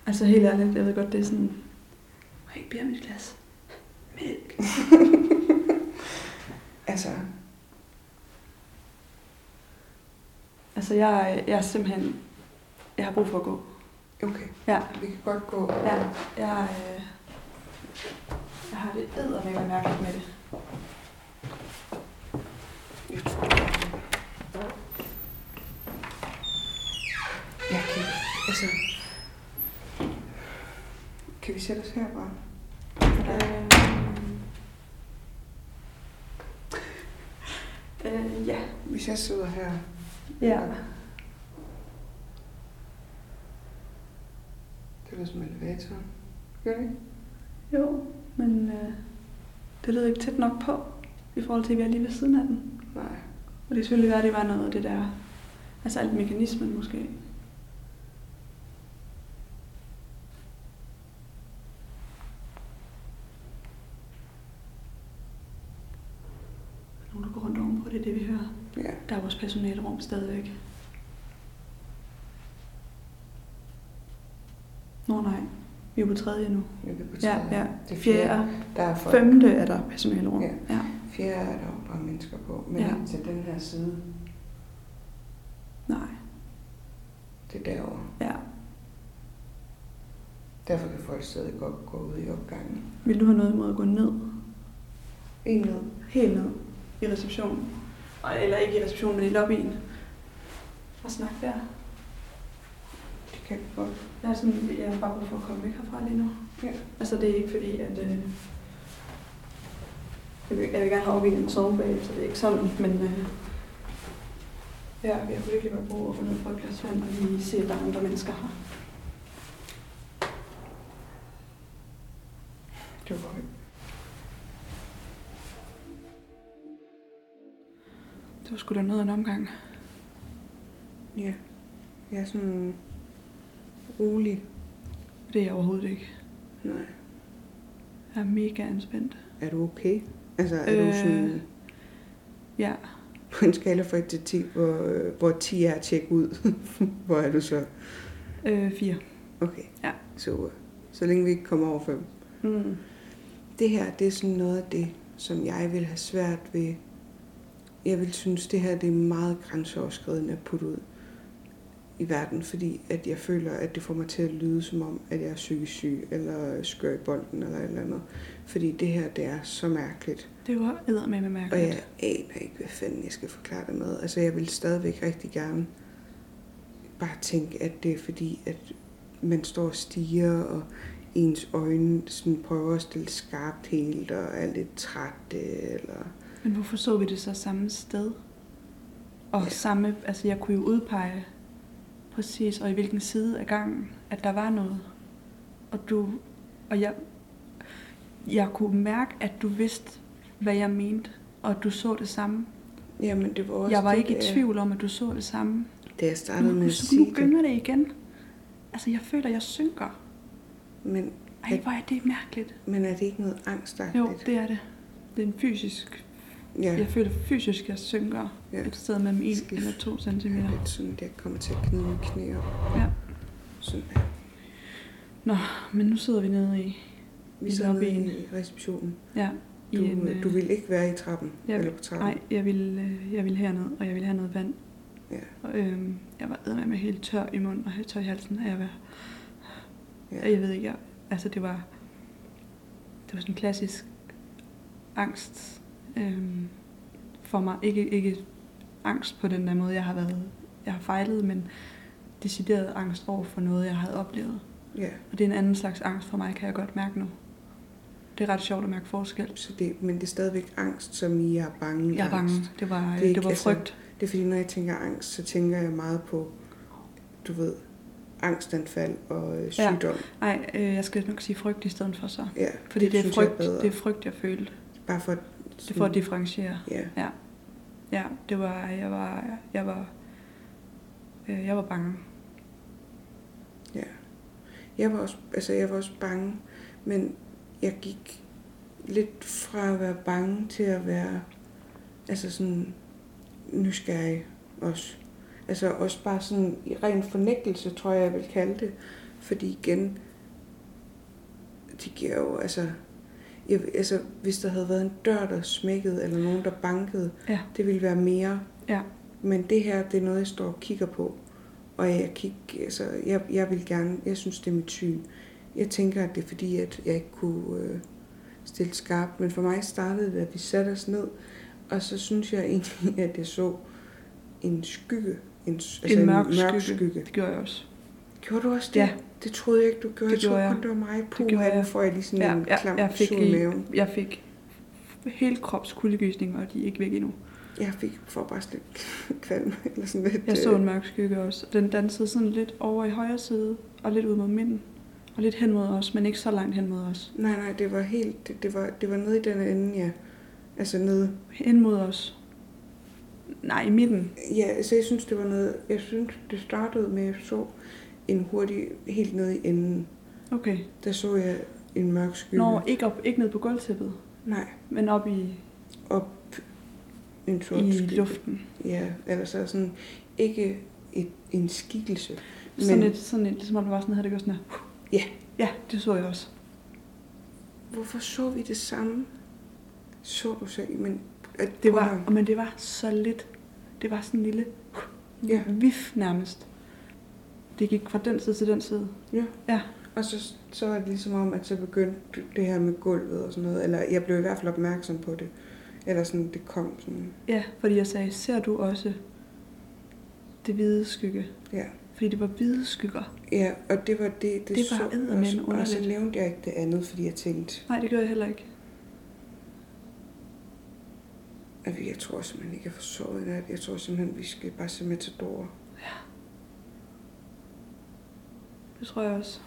S4: Altså helt ærligt, jeg ved godt, det er sådan... Må jeg ikke bede om et glas? Mælk.
S3: Altså,
S4: Altså jeg, jeg er simpelthen... Jeg har brug for at gå.
S3: okay.
S4: Ja.
S3: Vi kan godt gå.
S4: Ja, jeg, øh, jeg har det eddermame mærkeligt med det.
S3: Jeg kan ikke. Altså, kan vi sætte os her bare?
S4: Øh, øh, ja.
S3: Hvis jeg sidder her.
S4: Ja.
S3: Det var som elevatoren. Gør det ikke?
S4: Jo, men øh, det lød ikke tæt nok på, i forhold til, at vi er lige ved siden af den.
S3: Nej.
S4: Og det kan selvfølgelig være, at det var noget af det der, altså alt mekanismen måske. Nogen, der går rundt ovenpå, det er det, vi hører.
S3: Ja.
S4: Der er vores personalerum stadigvæk. Nå nej, vi er på tredje nu.
S3: Jeg vil på
S4: Ja,
S3: tredje.
S4: ja.
S3: Det er fjerde.
S4: Fjerde.
S3: Der er folk.
S4: Femte er der personalerum.
S3: Ja.
S4: ja.
S3: Fjerde er der jo bare mennesker på. Men
S4: Ja.
S3: ja. til den her side,
S4: Nej,
S3: det er derovre.
S4: ja.
S3: Derfor kan folk stadig godt gå ud i opgangen.
S4: Vil du have noget imod at gå ned?
S3: En ned.
S4: Helt ned i receptionen. Og- Eller ikke i receptionen, men i lobbyen. Og snakke der.
S3: Det kan vi godt.
S4: Jeg er, sådan, jeg er bare brug for at komme væk herfra lige nu.
S3: Ja.
S4: Altså det er ikke fordi, at... Øh, jeg, vil, jeg vil gerne have opvigt en sovebag, så det er ikke sådan, men... Øh, ja, jeg kunne virkelig godt bruge at få noget fra et glas vand, og lige se, at der er andre mennesker her.
S3: Det var godt.
S4: Det var sgu da noget af en omgang.
S3: Ja. Jeg er sådan rolig.
S4: Det er jeg overhovedet ikke.
S3: Nej.
S4: Jeg er mega anspændt.
S3: Er du okay? Altså, er øh... du
S4: Øh.
S3: sådan
S4: Ja.
S3: på en skala fra 1 til 10, hvor, øh, hvor 10 er at tjekke ud? hvor er du så?
S4: Øh, fire.
S3: Okay.
S4: Ja.
S3: Super. Så længe vi ikke kommer over 5.
S4: Mm.
S3: Det her, det er sådan noget af det, som jeg vil have svært ved. Jeg vil synes, det her det er meget grænseoverskridende at putte ud i verden, fordi at jeg føler, at det får mig til at lyde som om, at jeg er psykisk syg, eller skør i bolden, eller et eller andet. Fordi det her, det er så mærkeligt.
S4: Det var eddermame
S3: Og
S4: mærkeligt.
S3: jeg aner ikke, hvad fanden jeg skal forklare det med. Altså, jeg vil stadigvæk rigtig gerne bare tænke, at det er fordi, at man står og stiger, og ens øjne sådan prøver at stille skarpt helt, og er lidt træt, øh, eller...
S4: Men hvorfor så vi det så samme sted? Og
S3: Ja.
S4: ja. samme, altså jeg kunne jo udpege præcis, og i hvilken side af gangen, at der var noget. Og du, og jeg, jeg kunne mærke, at du vidste, hvad jeg mente, og at du så det samme.
S3: Jamen, det var også
S4: Jeg var
S3: det,
S4: ikke i
S3: da jeg-
S4: tvivl om, at du så det samme.
S3: Da jeg
S4: Nu,
S3: startede med
S4: nu,
S3: at sige
S4: nu
S3: det,
S4: gynger det igen. Altså, jeg føler, jeg synker.
S3: men,
S4: Ej, hvor er det mærkeligt.
S3: men er det ikke noget angstagtigt?
S4: Jo, det er det. Det er en fysisk...
S3: ja.
S4: Jeg føler fysisk, jeg synker
S3: Ja.
S4: et sted mellem 1
S3: Skal-
S4: eller 2
S3: Det
S4: centimeter.
S3: er lidt sådan, at jeg kommer til at knide mine knæ op.
S4: Ja.
S3: Sådan.
S4: Men nu sidder vi nede i...
S3: Vi
S4: I
S3: sidder nede
S4: lobbyen.
S3: i receptionen.
S4: Ja, i
S3: Du,
S4: en, øh,
S3: du ville ikke være i trappen,
S4: jeg
S3: eller på trappen.
S4: Nej, jeg ville, øh, jeg ville herned, og jeg ville have noget vand.
S3: Ja.
S4: Og, øhm, jeg var med helt tør i munden og helt tør i halsen, og jeg var...
S3: Ja.
S4: Ja. Jeg ved ikke, jeg, altså det var... Det var sådan en klassisk angst øhm, for mig. Ikke, ikke angst på den der måde, jeg har været... Jeg har fejlet, men decideret angst over for noget, jeg havde oplevet.
S3: Ja,
S4: Og det er en anden slags angst for mig, kan jeg godt mærke nu. Det er ret sjovt at mærke forskel.
S3: så det, men det er stadigvæk angst, som I er bange
S4: Jeg er
S3: angst.
S4: bange. Det var, øh,
S3: Det er
S4: det
S3: ikke-
S4: det var
S3: altså-
S4: frygt.
S3: Det er fordi, når jeg tænker angst, så tænker jeg meget på, du ved, angstanfald og øh,
S4: Ja.
S3: sygdom.
S4: Nej, øh, jeg skal nok sige frygt i stedet for så.
S3: Ja, ja
S4: Fordi det, det, er,
S3: synes jeg
S4: frygt,
S3: bedre. Mm.
S4: det er frygt, jeg følte.
S3: bare for...
S4: Det er for at differentiere.
S3: Ja,
S4: Ja, det var, jeg var, jeg var, øh, jeg var bange.
S3: ja. Jeg var, også, altså, jeg var også bange, men jeg gik lidt fra at være bange til at være altså sådan nysgerrig også. Altså også bare sådan i ren fornægtelse, tror jeg, jeg vil kalde det. Fordi igen, det giver jo, altså, jeg, altså, hvis der havde været en dør, der smækkede, eller nogen, der bankede,
S4: Ja.
S3: det ville være mere.
S4: Ja.
S3: Men det her, det er noget, jeg står og kigger på. Og jeg, kig, altså, jeg, jeg vil gerne, jeg synes, det er mit syn. Jeg tænker, at det er fordi, at jeg ikke kunne øh, stille skarpt. Men for mig startede det, at vi satte os ned, og så synes jeg egentlig, at jeg så en skygge. En, s- altså en mørk, mørk skygge. skygge.
S4: Det gjorde jeg også.
S3: Gjorde du også det?
S4: Ja.
S3: Det troede jeg ikke, du gjorde.
S4: Det
S3: jeg
S4: gjorde
S3: troede
S4: jeg.
S3: kun, det var mig. Puh,
S4: gjorde
S3: her, nu
S4: jeg.
S3: får jeg lige sådan
S4: Ja,
S3: en
S4: ja,
S3: klam
S4: jeg fik
S3: sur
S4: i-
S3: maven.
S4: Jeg fik hele krops kuldegysninger, og de er ikke væk endnu.
S3: Jeg fik for bare sådan lidt kvalm. Eller sådan lidt,
S4: Jeg så
S3: øh,
S4: en mørk skygge også. Den dansede sådan lidt over i højre side, og lidt ud mod midten. Og lidt hen mod os, men ikke så langt hen mod os.
S3: Nej, nej, det var helt, det, det, var, det var nede i den ende, ja. Altså nede,
S4: Hen mod os. Nej, i midten.
S3: ja, altså jeg synes, det var noget, jeg synes, det startede med, at jeg så en hurtig, helt nede i enden.
S4: Okay.
S3: Der så jeg en mørk skygge.
S4: Nå, ikke, op, ikke ned på gulvtæppet,
S3: Nej,
S4: men op i,
S3: op en sort
S4: i
S3: skygge.
S4: luften.
S3: Ja, eller så sådan, ikke et, en skikkelse. Men-
S4: Sådan lidt, sådan lidt, ligesom om det var sådan her, det gør sådan her.
S3: Ja.
S4: Ja, det så jeg også.
S3: Hvorfor så vi det samme? Så du så, men... At,
S4: Det
S3: prøv at
S4: var,
S3: høre.
S4: men det var så lidt. Det var sådan en lille
S3: Ja,
S4: vif nærmest. Det gik fra den side til den side.
S3: og så, så var det ligesom om, at så begyndte det her med gulvet og sådan noget, eller jeg blev i hvert fald opmærksom på det. Eller sådan, det kom sådan...
S4: Ja, fordi jeg sagde, ser du også det hvide skygge?
S3: Ja.
S4: Fordi det var hvide skygger.
S3: Ja, og det var det, det,
S4: Det var
S3: så
S4: eddermame
S3: også, og så
S4: underligt.
S3: nævnte jeg ikke det andet, fordi jeg tænkte,
S4: Nej, det gjorde jeg heller ikke.
S3: at jeg tror simpelthen ikke, jeg får sovet i nat. Jeg tror simpelthen, vi skal bare se metadorer.
S4: Det tror jeg også.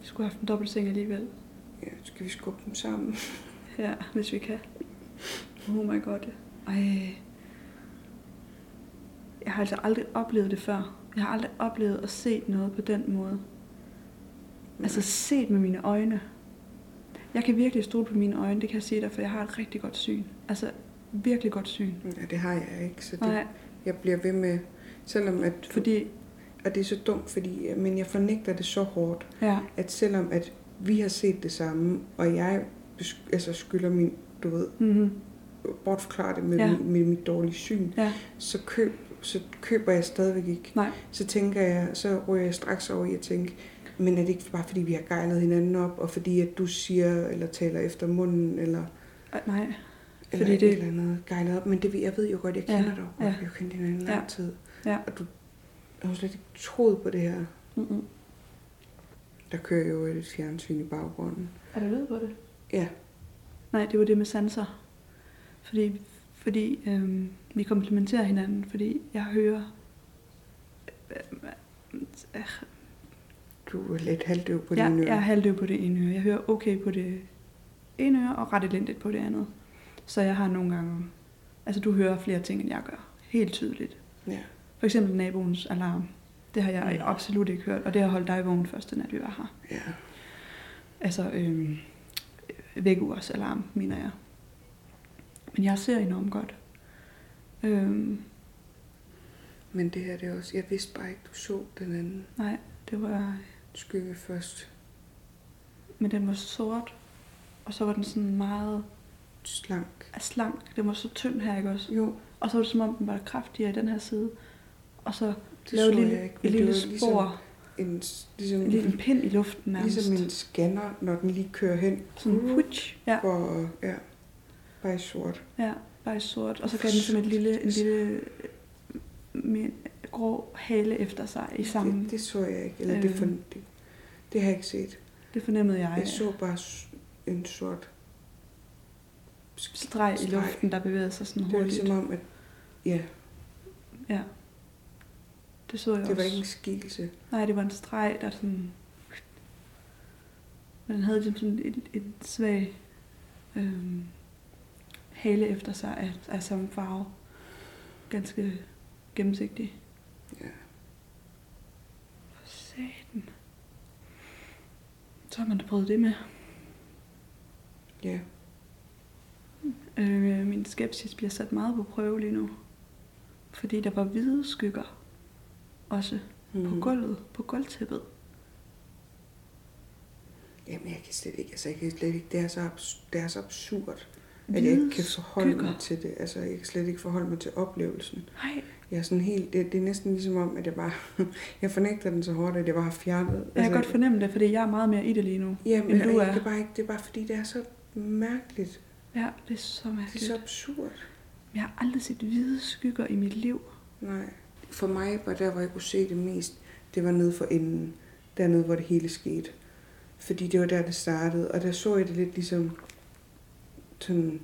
S4: Vi skulle have haft en dobbeltseng alligevel.
S3: Ja, skal vi skubbe dem sammen?
S4: Ja, hvis vi kan. Oh my god. Ej. Jeg har altså aldrig oplevet det før. Jeg har aldrig oplevet at se noget på den måde. Altså set med mine øjne. Jeg kan virkelig stole på mine øjne, det kan jeg sige dig, for jeg har et rigtig godt syn. Altså virkelig godt syn.
S3: Ja, det har jeg ikke, så det,
S4: Nej,
S3: jeg bliver ved med, selvom at
S4: fordi
S3: og det er så dumt, fordi, øh, men jeg fornægter det så hårdt,
S4: Ja.
S3: at selvom at vi har set det samme, og jeg besk- altså skylder min, du ved,
S4: Mm-hmm.
S3: bortforklare det med,
S4: Ja.
S3: ja. mit, med mit dårlige syn,
S4: Ja.
S3: så, køb, så køber jeg stadigvæk ikke.
S4: Nej.
S3: Så tænker jeg, så ryger jeg straks over i at tænke, men er det ikke bare fordi, vi har gejlet hinanden op, og fordi at du siger, eller taler efter munden, eller,
S4: Ej, Nej.
S3: fordi
S4: Fordi
S3: eller det...
S4: det-
S3: et eller andet gejlet op. Men det, ved- jeg ved jo godt, jeg
S4: Ja,
S3: kender dig jo
S4: ja.
S3: godt, ja. vi har kendt hinanden i lang
S4: Ja,
S3: tid.
S4: ja.
S3: Og du jeg har jo slet ikke troet på det her.
S4: Mm-mm.
S3: Der kører jo et fjernsyn i baggrunden.
S12: Er der lyd på det?
S4: Nej, det var det med sanser. Fordi, fordi øhm, vi komplementerer hinanden, fordi jeg hører... øh,
S3: Du er lidt halvdøv på
S4: Jeg,
S3: dine
S4: jeg er
S3: ører.
S4: halvdøv på det ene øre. Jeg hører okay på det ene øre, og ret elendigt på det andet. Så jeg har nogle gange... Altså, du hører flere ting, end jeg gør. Helt tydeligt.
S3: Ja. Mm.
S4: For eksempel naboens alarm. Det har jeg absolut ikke hørt, og det har holdt dig vågen første nat, vi var her.
S3: ja.
S4: Altså, øhm, vækkeurs alarm, mener jeg. Men jeg ser enormt godt. Øhm,
S3: Men det her, det er også... Jeg vidste bare ikke, du så den anden
S4: nej, det var...
S3: skygge først.
S4: Men den var sort, og så var den sådan meget
S3: Slank.
S4: slank. Den var så tynd her, ikke også?
S3: Jo,
S4: Og så var det som om, den var kraftigere i den her side. Og så
S3: det
S4: lavede et
S3: så
S4: lille,
S3: jeg ikke.
S4: et
S3: men
S4: lille
S3: det var ligesom
S4: spor,
S3: En, ligesom,
S4: en lille pind i luften nærmest.
S3: ligesom en uh. scanner, når den lige kører hen
S4: Sådan putsch. Ja,
S3: for... Ja, bare i sort.
S4: ja, bare i sort. Og så gav den som et lille, en lille øh, med grå hale efter sig i samme.
S3: Det, det så jeg ikke. Eller det, for,
S4: Øhm.
S3: det, det har jeg ikke set.
S4: Det fornemmede jeg. øh,
S3: Jeg så bare s- en sort...
S4: streg i
S3: Streg.
S4: luften, der bevægede sig sådan
S3: Det var
S4: hurtigt.
S3: ligesom om, at... Ja,
S4: Ja. Det så jeg
S3: det var
S4: også.
S3: ikke en skikkelse.
S4: Nej, det var en streg, der sådan... Men den havde ligesom sådan en, en svag øhm, hale efter sig af, af samme farve. Ganske gennemsigtig.
S3: Ja.
S4: For satan. Så har man da prøvet det med.
S3: Ja,
S4: Øh, min skepsis bliver sat meget på prøve lige nu. Fordi der var hvide skygger. Også mm. på
S3: Mhm.
S4: gulvet, på gulvtæppet.
S3: Jamen, jeg kan slet ikke, altså, jeg kan slet ikke, det er så, abs- det er så absurd, at jeg
S4: Hvide
S3: ikke kan forholde
S4: skygger.
S3: mig til det. Altså, jeg kan slet ikke forholde mig til oplevelsen.
S4: Nej,
S3: Jeg er sådan helt, det, det er næsten ligesom om, at jeg bare, jeg fornægter den så hårdt, at jeg bare har fjernet. altså,
S4: jeg kan godt fornemme det, fordi jeg er meget mere i det lige nu.
S3: Jamen,
S4: end du
S3: du
S4: er.
S3: er. Det, er bare ikke, det er bare fordi, det er så mærkeligt.
S4: Ja, det er så
S3: Det er
S4: mærkeligt.
S3: så absurd.
S4: Men Jeg har aldrig set hvide skygger i mit liv.
S3: Nej. For mig var der, hvor jeg kunne se det mest, det var nede for enden. Dernede, hvor det hele skete. Fordi det var der, det startede. Og der så jeg det lidt ligesom sådan...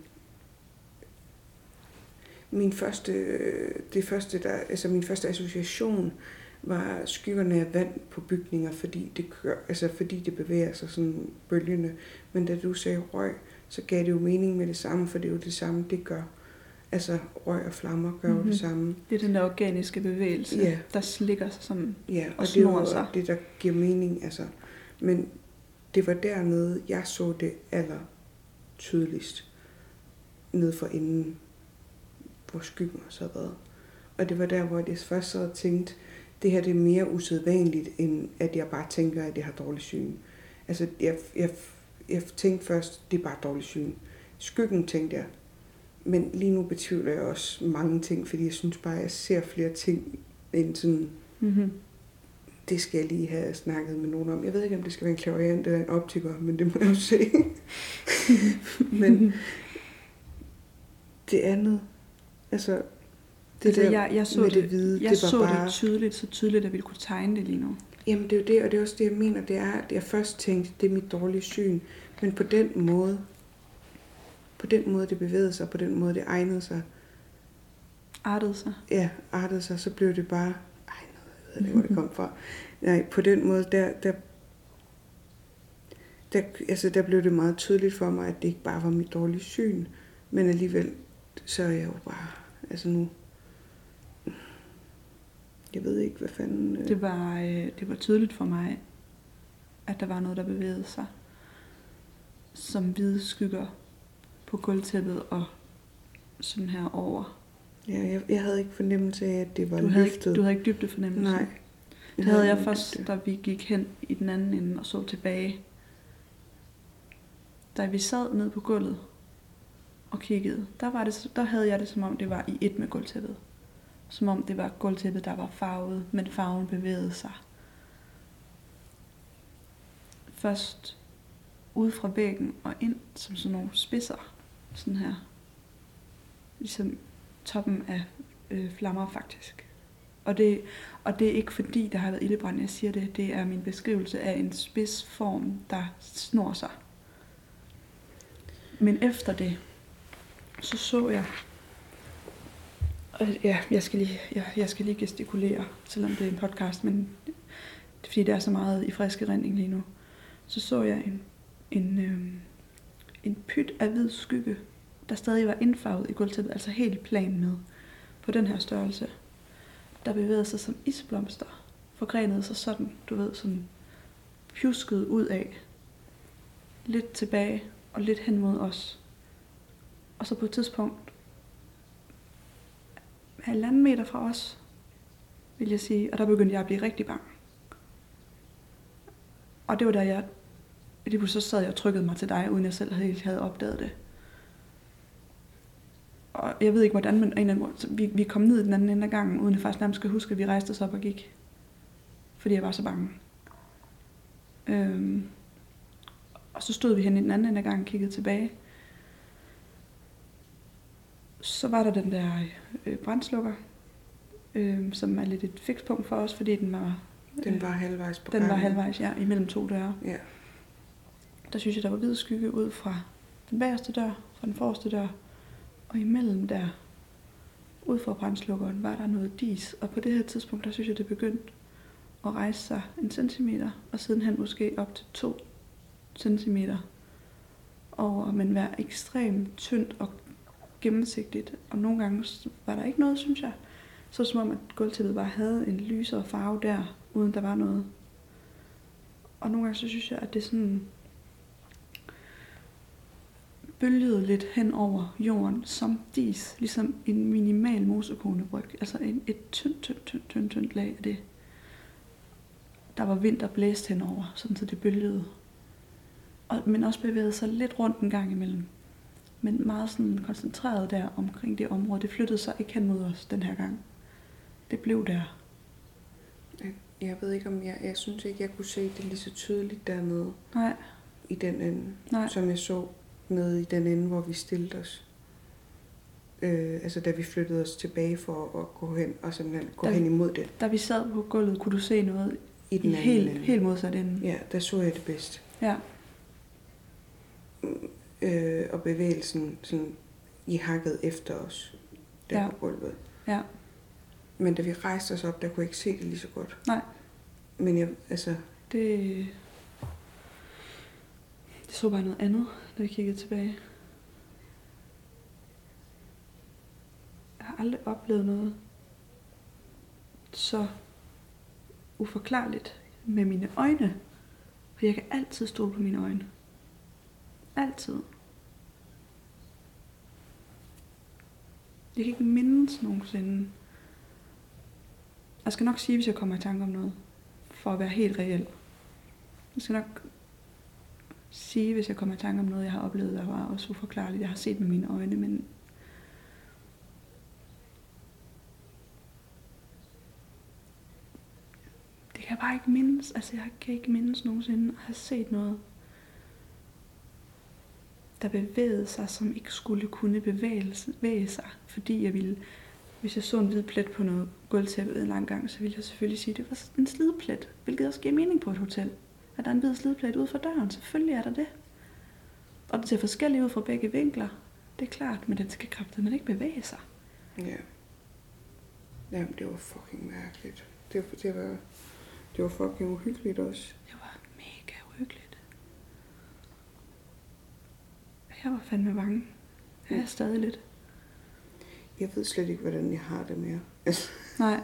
S3: Min første, øh, det første der, altså min første association var skyggerne af vand på bygninger, fordi det, gør, altså fordi det bevæger sig sådan bølgende. Men da du sagde røg, så gav det jo mening med det samme, for det er jo det samme, det gør. Altså røg og flammer gør mm-hmm. jo
S4: Mhm.
S3: det samme.
S4: Det er den der organiske bevægelse,
S3: Ja.
S4: der slikker sig som...
S3: Ja, og,
S4: og
S3: og det er
S4: snor
S3: jo
S4: sig.
S3: det, der giver mening. Altså. Men det var dernede, jeg så det aller tydeligst. Nede for enden, hvor skyggen også havde været. Og det var der, hvor jeg først sad og tænkte, det her det er mere usædvanligt, end at jeg bare tænker, at jeg har dårlig syn. Altså, jeg, jeg, jeg tænkte først, det er bare dårlig syn. Skyggen tænkte jeg. Men lige nu betvivler jeg også mange ting, fordi jeg synes bare, at jeg ser flere ting, end sådan,
S4: Mm-hmm.
S3: det skal jeg lige have snakket med nogen om. Jeg ved ikke, om det skal være en klaverant eller en optiker, men det må jeg jo se. men det andet, altså det
S4: altså,
S3: der
S4: jeg, jeg så
S3: med
S4: det,
S3: det, hvide,
S4: jeg
S3: det var
S4: så
S3: bare...
S4: det tydeligt, så tydeligt, at vi kunne tegne det lige nu.
S3: Jamen det er jo det, og det er også det, jeg mener, det er, at jeg først tænkte, det er mit dårlige syn, men på den måde, på den måde det bevægede sig, på den måde det egnede sig,
S4: Artede sig.
S3: ja, artede sig, så blev det bare, ej, nu ved jeg ikke, hvor det kom fra. Nej, på den måde, der, der, der, altså, der blev det meget tydeligt for mig, at det ikke bare var mit dårlige syn, men alligevel, så er jeg jo bare, altså nu, jeg ved ikke, hvad fanden... øh,
S4: Det var, øh, det var tydeligt for mig, at der var noget, der bevægede sig. Som hvide skygger på gulvtæppet og sådan her over.
S3: Ja, jeg, jeg havde ikke fornemmelse af, at det var
S4: Du havde, ikke,
S3: løftet.
S4: du havde ikke dybde fornemmelse.
S3: Nej,
S4: Det havde jeg først, da vi gik hen i den anden ende og så tilbage. Da vi sad ned på gulvet og kiggede, der, var det, der havde jeg det, som om det var i et med gulvtæppet. Som om det var gulvtæppet, der var farvet, men farven bevægede sig. Først ud fra væggen og ind som sådan nogle spidser. Sådan her. Ligesom toppen af øh, flammer faktisk. Og det, og det er ikke fordi, der har været ildebrand, jeg siger det. Det er min beskrivelse af en spidsform, der snor sig. Men efter det, så så jeg... Og ja, jeg skal lige, jeg, jeg skal lige gestikulere, selvom det er en podcast, men det er fordi, der er så meget i friske rending lige nu. Så så jeg en, en, øh, en pyt af hvid skygge, der stadig var indfarvet i gulvtæppet, altså helt plan med, på den her størrelse der bevægede sig som isblomster, forgrenede sig sådan, du ved, sådan pjuskede ud af, lidt tilbage og lidt hen mod os. Og så på et tidspunkt, halvanden meter fra os, vil jeg sige, og der begyndte jeg at blive rigtig bange. Og det var da jeg, lige pludselig så sad jeg og trykkede mig til dig, uden jeg selv helt havde opdaget det og jeg ved ikke hvordan, men en eller anden måde, så vi, vi kom ned i den anden ende af gangen, uden at faktisk nærmest skal huske, at vi rejste os op og gik. Fordi jeg var så bange. Øhm, og så stod vi hen i den anden ende af gangen og kiggede tilbage. Så var der den der øh, brændslukker, øh, som er lidt et fikspunkt for os, fordi den var,
S3: Den var halvvejs på
S4: den var
S3: gangen.
S4: halvvejs ja, imellem to døre.
S3: Ja.
S4: Der synes jeg, der var hvid skygge ud fra den bagerste dør, fra den forreste dør, og imellem der, ud fra brændslukkeren, var der noget dis, og på det her tidspunkt, der synes jeg, det begyndte at rejse sig en centimeter, og sidenhen måske op til to centimeter over, men var ekstremt tyndt og gennemsigtigt, og nogle gange var der ikke noget, synes jeg. Så som om, at gulvtæppet bare havde en lysere farve der, uden der var noget. Og nogle gange så synes jeg, at det sådan bølgede lidt hen over jorden som dis, ligesom en minimal mosekonebryg, altså en, et tyndt, tyndt, tyndt, tyndt, tyndt lag af det. Der var vind, der blæste henover, sådan så det bølgede. Og, men også bevægede sig lidt rundt en gang imellem. Men meget sådan koncentreret der omkring det område. Det flyttede sig ikke hen mod os den her gang. Det blev der.
S3: Jeg ved ikke om jeg, jeg synes ikke, jeg kunne se det lige så tydeligt dernede
S4: Nej,
S3: i den ende,
S4: nej,
S3: som jeg så nede i den ende, hvor vi stillede os. Øh, altså da vi flyttede os tilbage for at gå hen og simpelthen gå
S4: Da-
S3: hen imod den
S4: Da vi sad på gulvet, kunne du se noget
S3: i
S4: i
S3: den anden
S4: helt,
S3: ende.
S4: helt modsat ende.
S3: Ja, der så jeg det bedst.
S4: Ja,
S3: Øh, og bevægelsen sådan i hakket efter os der
S4: Ja.
S3: ja. på gulvet.
S4: Ja.
S3: Men da vi rejste os op, der kunne jeg ikke se det lige så godt.
S4: Nej.
S3: Men jeg, altså,
S4: Det... Det så bare noget andet, da vi kiggede tilbage. Jeg har aldrig oplevet noget så uforklarligt med mine øjne. For jeg kan altid stole på mine øjne. Altid. Jeg kan ikke mindes nogensinde. Jeg skal nok sige, hvis jeg kommer i tanke om noget for at være helt reel. Jeg skal nok sige, hvis jeg kommer i tanke om noget, jeg har oplevet, der var også uforklarligt, jeg har set med mine øjne, men det kan jeg bare ikke mindes. Altså, jeg kan ikke mindes nogensinde at have set noget, der bevægede sig, som ikke skulle kunne bevæge bevæge sig, fordi jeg ville hvis jeg så en hvid plet på noget gulvtæppe en lang gang, så ville jeg selvfølgelig sige, at det var en slidplet, hvilket også giver mening på et hotel. At der er en hvid slidplet ud for døren, selvfølgelig er der det. Og det ser forskelligt ud fra begge vinkler. Det er klart, men den skal kræfte, man ikke bevæge sig.
S3: ja. Jamen, det var fucking mærkeligt. Det, var- det var, det var fucking uhyggeligt også.
S4: Det var mega uhyggeligt. Jeg var fandme bange. Jeg er stadig lidt.
S3: Jeg ved slet ikke, hvordan jeg har det mere. Altså,
S4: Nej,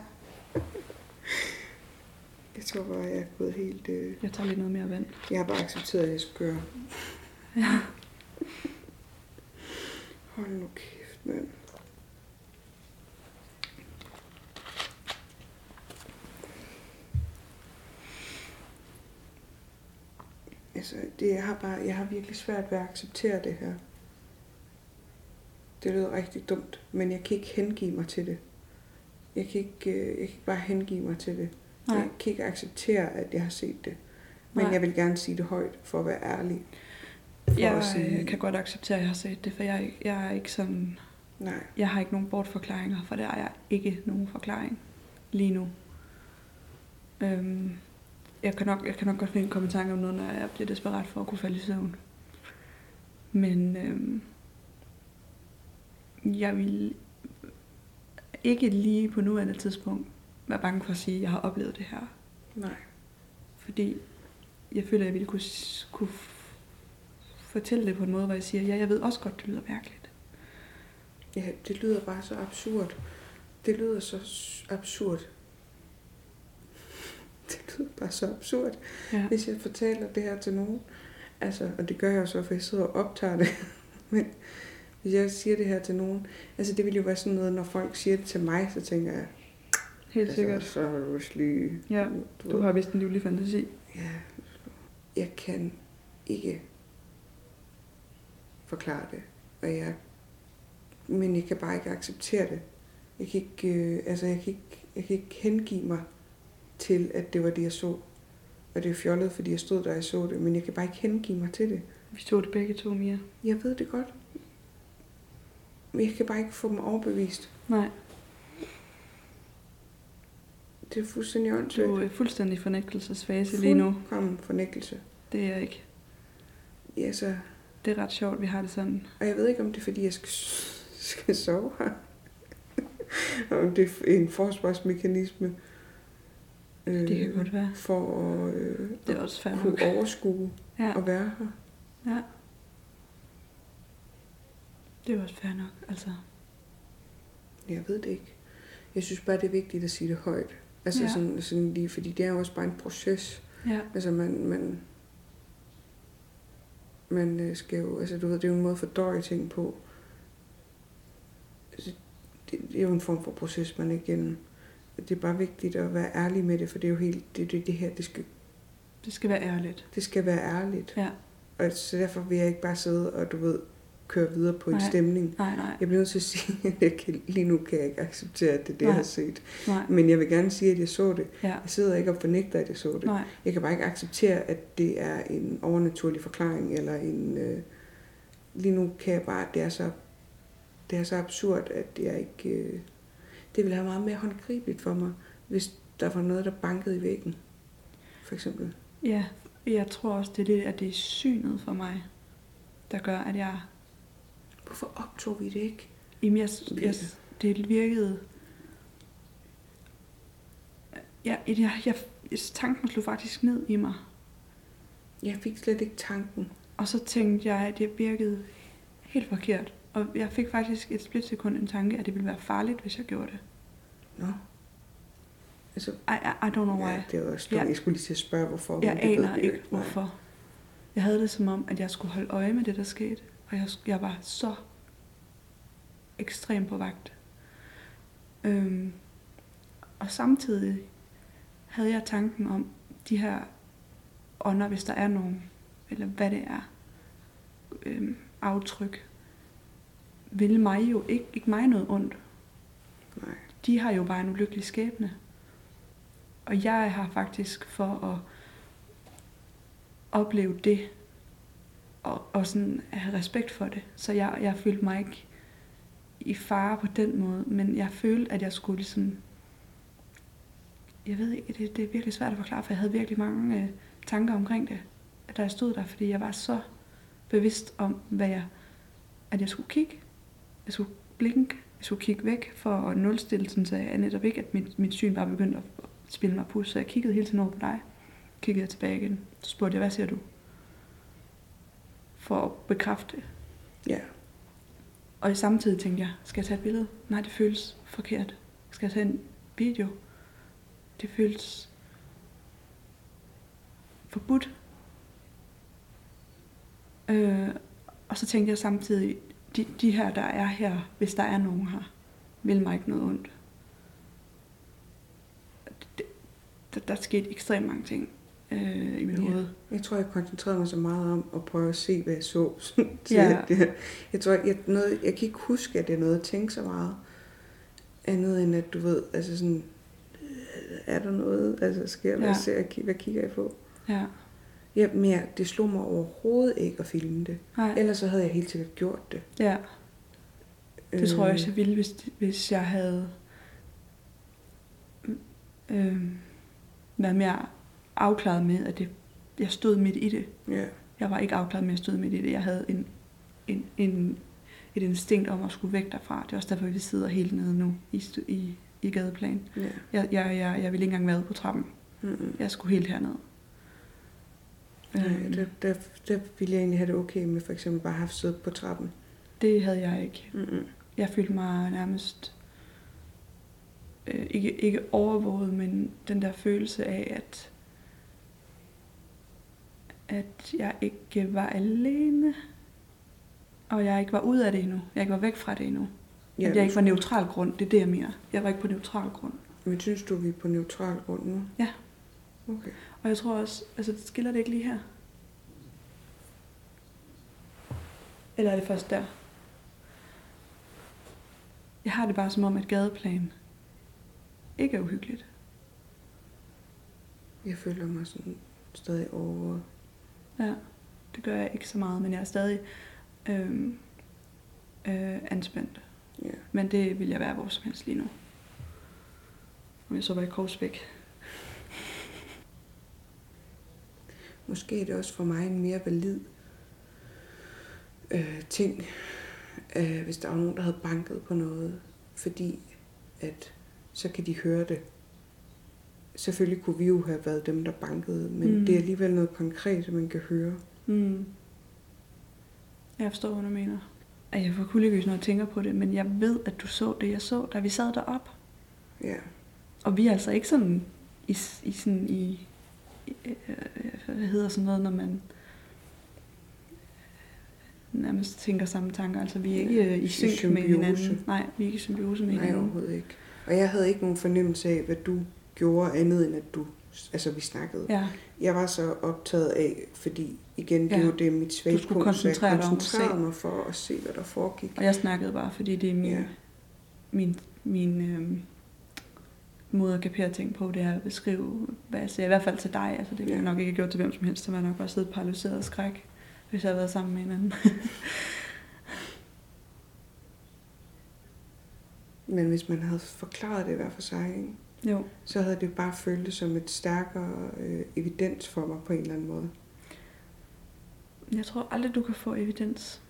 S3: jeg tror bare, jeg er gået helt... Øh,
S4: jeg tager lige noget mere vand.
S3: jeg har bare accepteret, at jeg skal gøre.
S4: Ja.
S3: Hold nu kæft, mand. altså, det, jeg, har bare, jeg har virkelig svært ved at acceptere det her. Det lyder rigtig dumt, men jeg kan ikke hengive mig til det. Jeg kan ikke, øh, jeg kan ikke bare hengive mig til det.
S4: Nej.
S3: Jeg kan ikke acceptere, at jeg har set det. Men
S4: Nej.
S3: Nej. jeg vil gerne sige det højt, for at være ærlig.
S4: Jeg
S3: at sige-
S4: øh, kan godt acceptere, at jeg har set det, for jeg, er ikke- jeg er ikke sådan...
S3: Nej,
S4: Jeg har ikke nogen bortforklaringer, for der er jeg ikke nogen forklaring lige nu. Øhm, jeg, kan nok, jeg kan nok godt finde en kommentar om noget, når jeg bliver desperat for at kunne falde i søvn. Men øhm, jeg vil ikke lige på nuværende tidspunkt være bange for at sige, at jeg har oplevet det her.
S3: nej,
S4: Fordi jeg føler, at jeg ville kunne, s- kunne f- fortælle det på en måde, hvor jeg siger, ja, jeg ved også godt, det lyder mærkeligt.
S3: ja, det lyder bare så absurd. Det lyder så s- absurd. Det lyder bare så absurd.
S4: Ja.
S3: hvis jeg fortæller det her til nogen. Altså, og det gør jeg jo så, for jeg sidder og optager det. Men hvis jeg siger det her til nogen, altså det ville jo være sådan noget, når folk siger det til mig, så tænker jeg,
S4: Helt
S3: altså,
S4: sikkert.
S3: så har du også lige...
S4: Ja,
S3: du,
S4: Du
S3: ved-
S4: har vist en livlig fantasi.
S3: Ja, jeg kan ikke forklare det, og jeg, men jeg kan bare ikke acceptere det. Jeg kan ikke, øh, altså jeg kan ikke, jeg kan ikke hengive mig til, at det var det, jeg så. Og det er fjollet, fordi jeg stod der og så det, men jeg kan bare ikke hengive mig til det.
S4: Vi så det begge to, Mia.
S3: Jeg ved det godt. Men jeg kan bare ikke få dem overbevist.
S4: Nej,
S3: Det er fuldstændig åndssvagt.
S4: du er fuldstændig i fornægtelsesfase lige nu.
S3: Fuldkommen fornækkelse.
S4: Det er jeg ikke.
S3: Ja, så
S4: Det er ret sjovt, vi har det sådan.
S3: Og jeg ved ikke, om det er, fordi jeg skal, skal sove her. Og om det er en forsvarsmekanisme. Øh,
S4: Det kan godt være.
S3: For at, øh,
S4: Det er også
S3: at
S4: fair nok.
S3: kunne overskue
S4: Ja.
S3: at være her.
S4: Det er også fair nok, altså.
S3: Jeg ved det ikke. Jeg synes bare, det er vigtigt at sige det højt. Altså
S4: Ja.
S3: ja. sådan, sådan lige, fordi det er jo også bare en proces.
S4: Ja,
S3: Altså man, man, man øh, skal jo, altså du ved, det er jo en måde at fordøje ting på. Altså, det, det er jo en form for proces, man er igennem. Det er bare vigtigt at være ærlig med det, for det er jo helt, det, det, det her, det skal,
S4: det skal være ærligt.
S3: det skal være ærligt.
S4: Ja.
S3: Og så derfor vil jeg ikke bare sidde og, du ved, køre videre på en
S4: Nej.
S3: stemning.
S4: Nej, nej,
S3: Jeg bliver nødt til at sige, at jeg kan, lige nu kan jeg ikke acceptere, at det er det, jeg
S4: Nej.
S3: har set.
S4: nej,
S3: Men jeg vil gerne sige, at jeg så det.
S4: ja,
S3: Jeg sidder ikke og fornægter, at jeg så det.
S4: nej,
S3: Jeg kan bare ikke acceptere, at det er en overnaturlig forklaring, eller en... Øh, lige nu kan jeg bare... Det er så, det er så absurd, at jeg ikke... Øh, det ville have meget mere håndgribeligt for mig, hvis der var noget, der bankede i væggen, for eksempel.
S4: ja. Jeg tror også, det er det, at det er synet for mig, der gør, at jeg
S3: Hvorfor optog vi det ikke?
S4: Jamen, jeg, jeg,
S3: Virkelig.
S4: det virkede... Jeg, jeg, jeg, jeg, tanken slog faktisk ned i mig,
S3: Jeg fik slet ikke tanken.
S4: og så tænkte jeg, at det virkede helt forkert. Og jeg fik faktisk et splitsekund en tanke, at det ville være farligt, hvis jeg gjorde det.
S3: Nå. Altså,
S4: I, I, I don't know why.
S3: ja, det var også dumt.
S4: Ja.
S3: Jeg skulle lige til at spørge, hvorfor. men
S4: Jeg
S3: det ved
S4: aner
S3: vi jo
S4: ikke,
S3: Nej.
S4: hvorfor. Jeg havde det som om, at jeg skulle holde øje med det, der skete. Og jeg, jeg var så ekstrem på vagt. Øhm, og samtidig havde jeg tanken om de her ånder, hvis der er nogen, eller hvad det er, øhm, aftryk, vil mig jo ikke, ikke mig noget ondt.
S3: Nej.
S4: De har jo bare en ulykkelig skæbne. Og jeg er her faktisk for at opleve det, og, og sådan at have respekt for det. Så jeg, jeg følte mig ikke i fare på den måde, men jeg følte, at jeg skulle ligesom... Jeg ved ikke, det, det er virkelig svært at forklare, for jeg havde virkelig mange øh, tanker omkring det, da jeg stod der, fordi jeg var så bevidst om, hvad jeg, at jeg skulle kigge, jeg skulle blinke, jeg skulle kigge væk for at nulstille, sådan, så jeg netop ikke, at mit, mit syn bare begyndte at spille mig pus, så jeg kiggede hele tiden over på dig kiggede jeg tilbage igen. Så spurgte jeg, hvad ser du? For at bekræfte det.
S3: Ja.
S4: Og i samtidig tænkte jeg, skal jeg tage et billede? Nej, det føles forkert. Skal jeg tage en video? Det føles forbudt. Øh, og så tænkte jeg samtidig, de, de her, der er her, hvis der er nogen her, vil mig ikke noget ondt. Det, der, der skete ekstremt mange ting. øh, i mit
S3: Ja.
S4: hoved.
S3: Jeg tror, jeg koncentrerede mig så meget om at prøve at se, hvad jeg så. sådan, til
S4: Ja.
S3: at jeg, jeg tror, jeg, noget, jeg kan ikke huske, at det er noget, jeg tænkte så meget. Andet end, at du ved, altså sådan, øh, er der noget? Altså, sker der?
S4: Ja.
S3: Ja. Ser jeg, ki- hvad kigger jeg på?
S4: Ja.
S3: Ja, men jeg, det slog mig overhovedet ikke at filme det.
S4: Nej.
S3: Ellers så havde jeg helt sikkert gjort det.
S4: Ja, det tror jeg
S3: Øh,
S4: også, jeg ville, hvis, hvis jeg havde øh, været mere afklaret med, at det, jeg stod midt i det.
S3: Ja,
S4: Jeg var ikke afklaret med, at jeg stod midt i det. Jeg havde en, en, en, et instinkt om at skulle væk derfra. Det er også derfor, vi sidder helt nede nu i, stu- i, i gadeplan.
S3: ja.
S4: Jeg, jeg, jeg, jeg ville ikke engang være ude på trappen.
S3: Mm-mm.
S4: Jeg skulle helt herned.
S3: Nej,
S4: Øhm,
S3: der, der, der ville jeg egentlig have det okay med for eksempel bare at have haft siddet på trappen.
S4: det havde jeg ikke.
S3: Mm-mm.
S4: Jeg følte mig nærmest øh, ikke, ikke overvåget, men den der følelse af, at, at jeg ikke var alene, og jeg ikke var ud af det endnu. Jeg ikke var væk fra det endnu. Ja, at jeg ikke var neutral grund, det er det, jeg mener. Jeg var ikke på neutral grund.
S3: Men synes du, vi er på neutral grund nu?
S4: Ja.
S3: Okay.
S4: Og jeg tror også, altså det skiller det ikke lige her. Eller er det først der? Jeg har det bare som om, at gadeplan ikke er uhyggeligt.
S3: Jeg føler mig sådan stadig over.
S4: Det gør jeg ikke så meget, men jeg er stadig øhm, øh, anspændt.
S3: Ja.
S4: Men det vil jeg være hvor som helst lige nu. Om jeg så var i Korsbæk.
S3: Måske er det også for mig en mere valid øh, ting, øh, hvis der var nogen, der havde banket på noget, fordi at så kan de høre det. Selvfølgelig kunne vi jo have været dem, der bankede, men
S4: Mm.
S3: mm. det er alligevel noget konkret, som man kan høre.
S4: Mm. Jeg forstår, hvad du mener. At jeg får kuldegys, når jeg tænker på det, men jeg ved, at du så det, jeg så, da vi sad derop.
S3: Ja.
S4: Og vi er altså ikke sådan i, s- i sådan i, i øh, hvad hedder sådan noget, når man øh, nærmest tænker samme tanker. Altså vi er ikke øh, i
S3: I
S4: synk med
S3: symbiose.
S4: hinanden. Nej, vi er ikke i symbiose med
S3: Nej,
S4: hinanden.
S3: overhovedet ikke. Og jeg havde ikke nogen fornemmelse af, hvad du gjorde, andet end at du, altså vi snakkede.
S4: Ja,
S3: Jeg var så optaget af, fordi igen, det er
S4: Ja.
S3: jo det er mit svage
S4: skulle koncentrere
S3: jeg
S4: dig om at
S3: koncentrerede
S4: se.
S3: mig for at se, hvad der foregik.
S4: og jeg snakkede bare, fordi det er min,
S3: Ja.
S4: min, min øh, måde at kapere ting på, det er at beskrive, hvad jeg ser, i hvert fald til dig. Altså, det ville jeg
S3: Ja.
S4: nok ikke have gjort til hvem som helst, så var jeg nok bare siddet paralyseret af skræk, hvis jeg havde været sammen med en anden.
S3: Men hvis man havde forklaret det hver for sig, ikke?
S4: jo.
S3: så havde det bare føltes som et stærkere øh, evidens for mig på en eller anden måde.
S4: Jeg tror aldrig, du kan få evidens.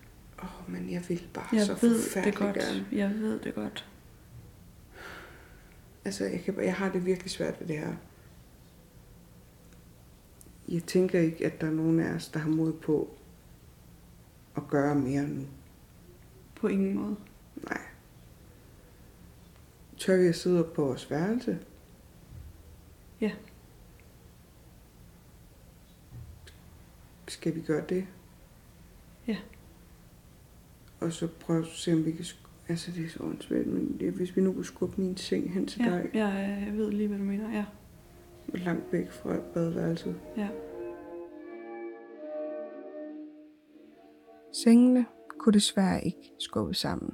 S3: Åh, oh, men jeg ville bare
S4: Jeg
S3: så
S4: ved det
S3: forfærdeligt
S4: godt.
S3: gerne.
S4: Jeg ved det godt.
S3: Altså, jeg, kan, jeg har det virkelig svært ved det her. Jeg tænker ikke, at der er nogen af os, der har mod på at gøre mere nu.
S4: På ingen måde.
S3: Nej. Tør vi at sidde op på vores værelse?
S4: Ja.
S3: Skal vi gøre det?
S4: Ja.
S3: Og så prøve at se, om vi kan... Sk- altså, det er så åndssvagt, men det, hvis vi nu kunne skubbe min seng hen til
S4: Ja,
S3: dig,
S4: jeg, jeg ved lige, hvad du mener. Ja.
S3: langt væk fra badeværelset.
S11: Sengene kunne desværre ikke skubbes sammen.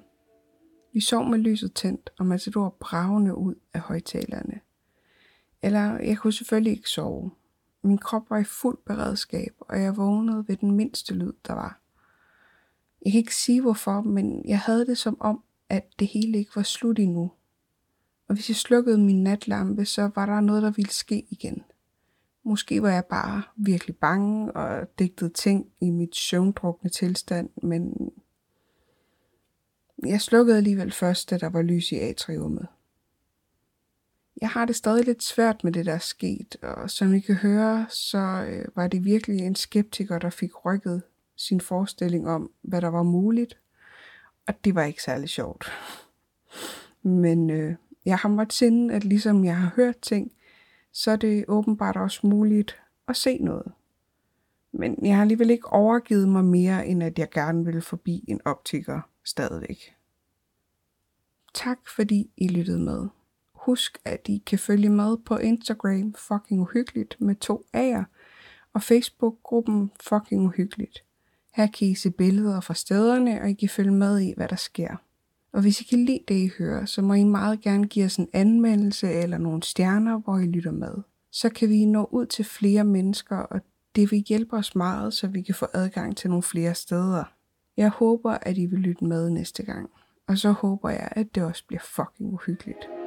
S11: Vi sov med lyset tændt og Matador bravende ud af højtalerne. Eller jeg kunne selvfølgelig ikke sove. Min krop var i fuld beredskab, og jeg vågnede ved den mindste lyd, der var. Jeg kan ikke sige hvorfor, men jeg havde det som om, at det hele ikke var slut endnu. Og hvis jeg slukkede min natlampe, så var der noget, der ville ske igen. Måske var jeg bare virkelig bange og digtede ting i mit søvndrukne tilstand, men jeg slukkede alligevel først, da der var lys i atriummet. Jeg har det stadig lidt svært med det, der er sket, og som I kan høre, så øh, var det virkelig en skeptiker, der fik rykket sin forestilling om, hvad der var muligt, og det var ikke særlig sjovt. Men øh, jeg har måttet sinde, at ligesom jeg har hørt ting, så er det åbenbart også muligt at se noget. Men jeg har alligevel ikke overgivet mig mere, end at jeg gerne ville forbi en optiker stadigvæk. Tak fordi I lyttede med. Husk, at I kan følge med på Instagram fucking uhyggeligt med to A'er, og Facebook-gruppen Fucking Uhyggeligt. Her kan I se billeder fra stederne, og I kan følge med i, hvad der sker. Og hvis I kan lide det, I hører, så må I meget gerne give os en anmeldelse eller nogle stjerner, hvor I lytter med. Så kan vi nå ud til flere mennesker, og det vil hjælpe os meget, så vi kan få adgang til nogle flere steder. Jeg håber, at I vil lytte med næste gang, og så håber jeg, at det også bliver fucking uhyggeligt.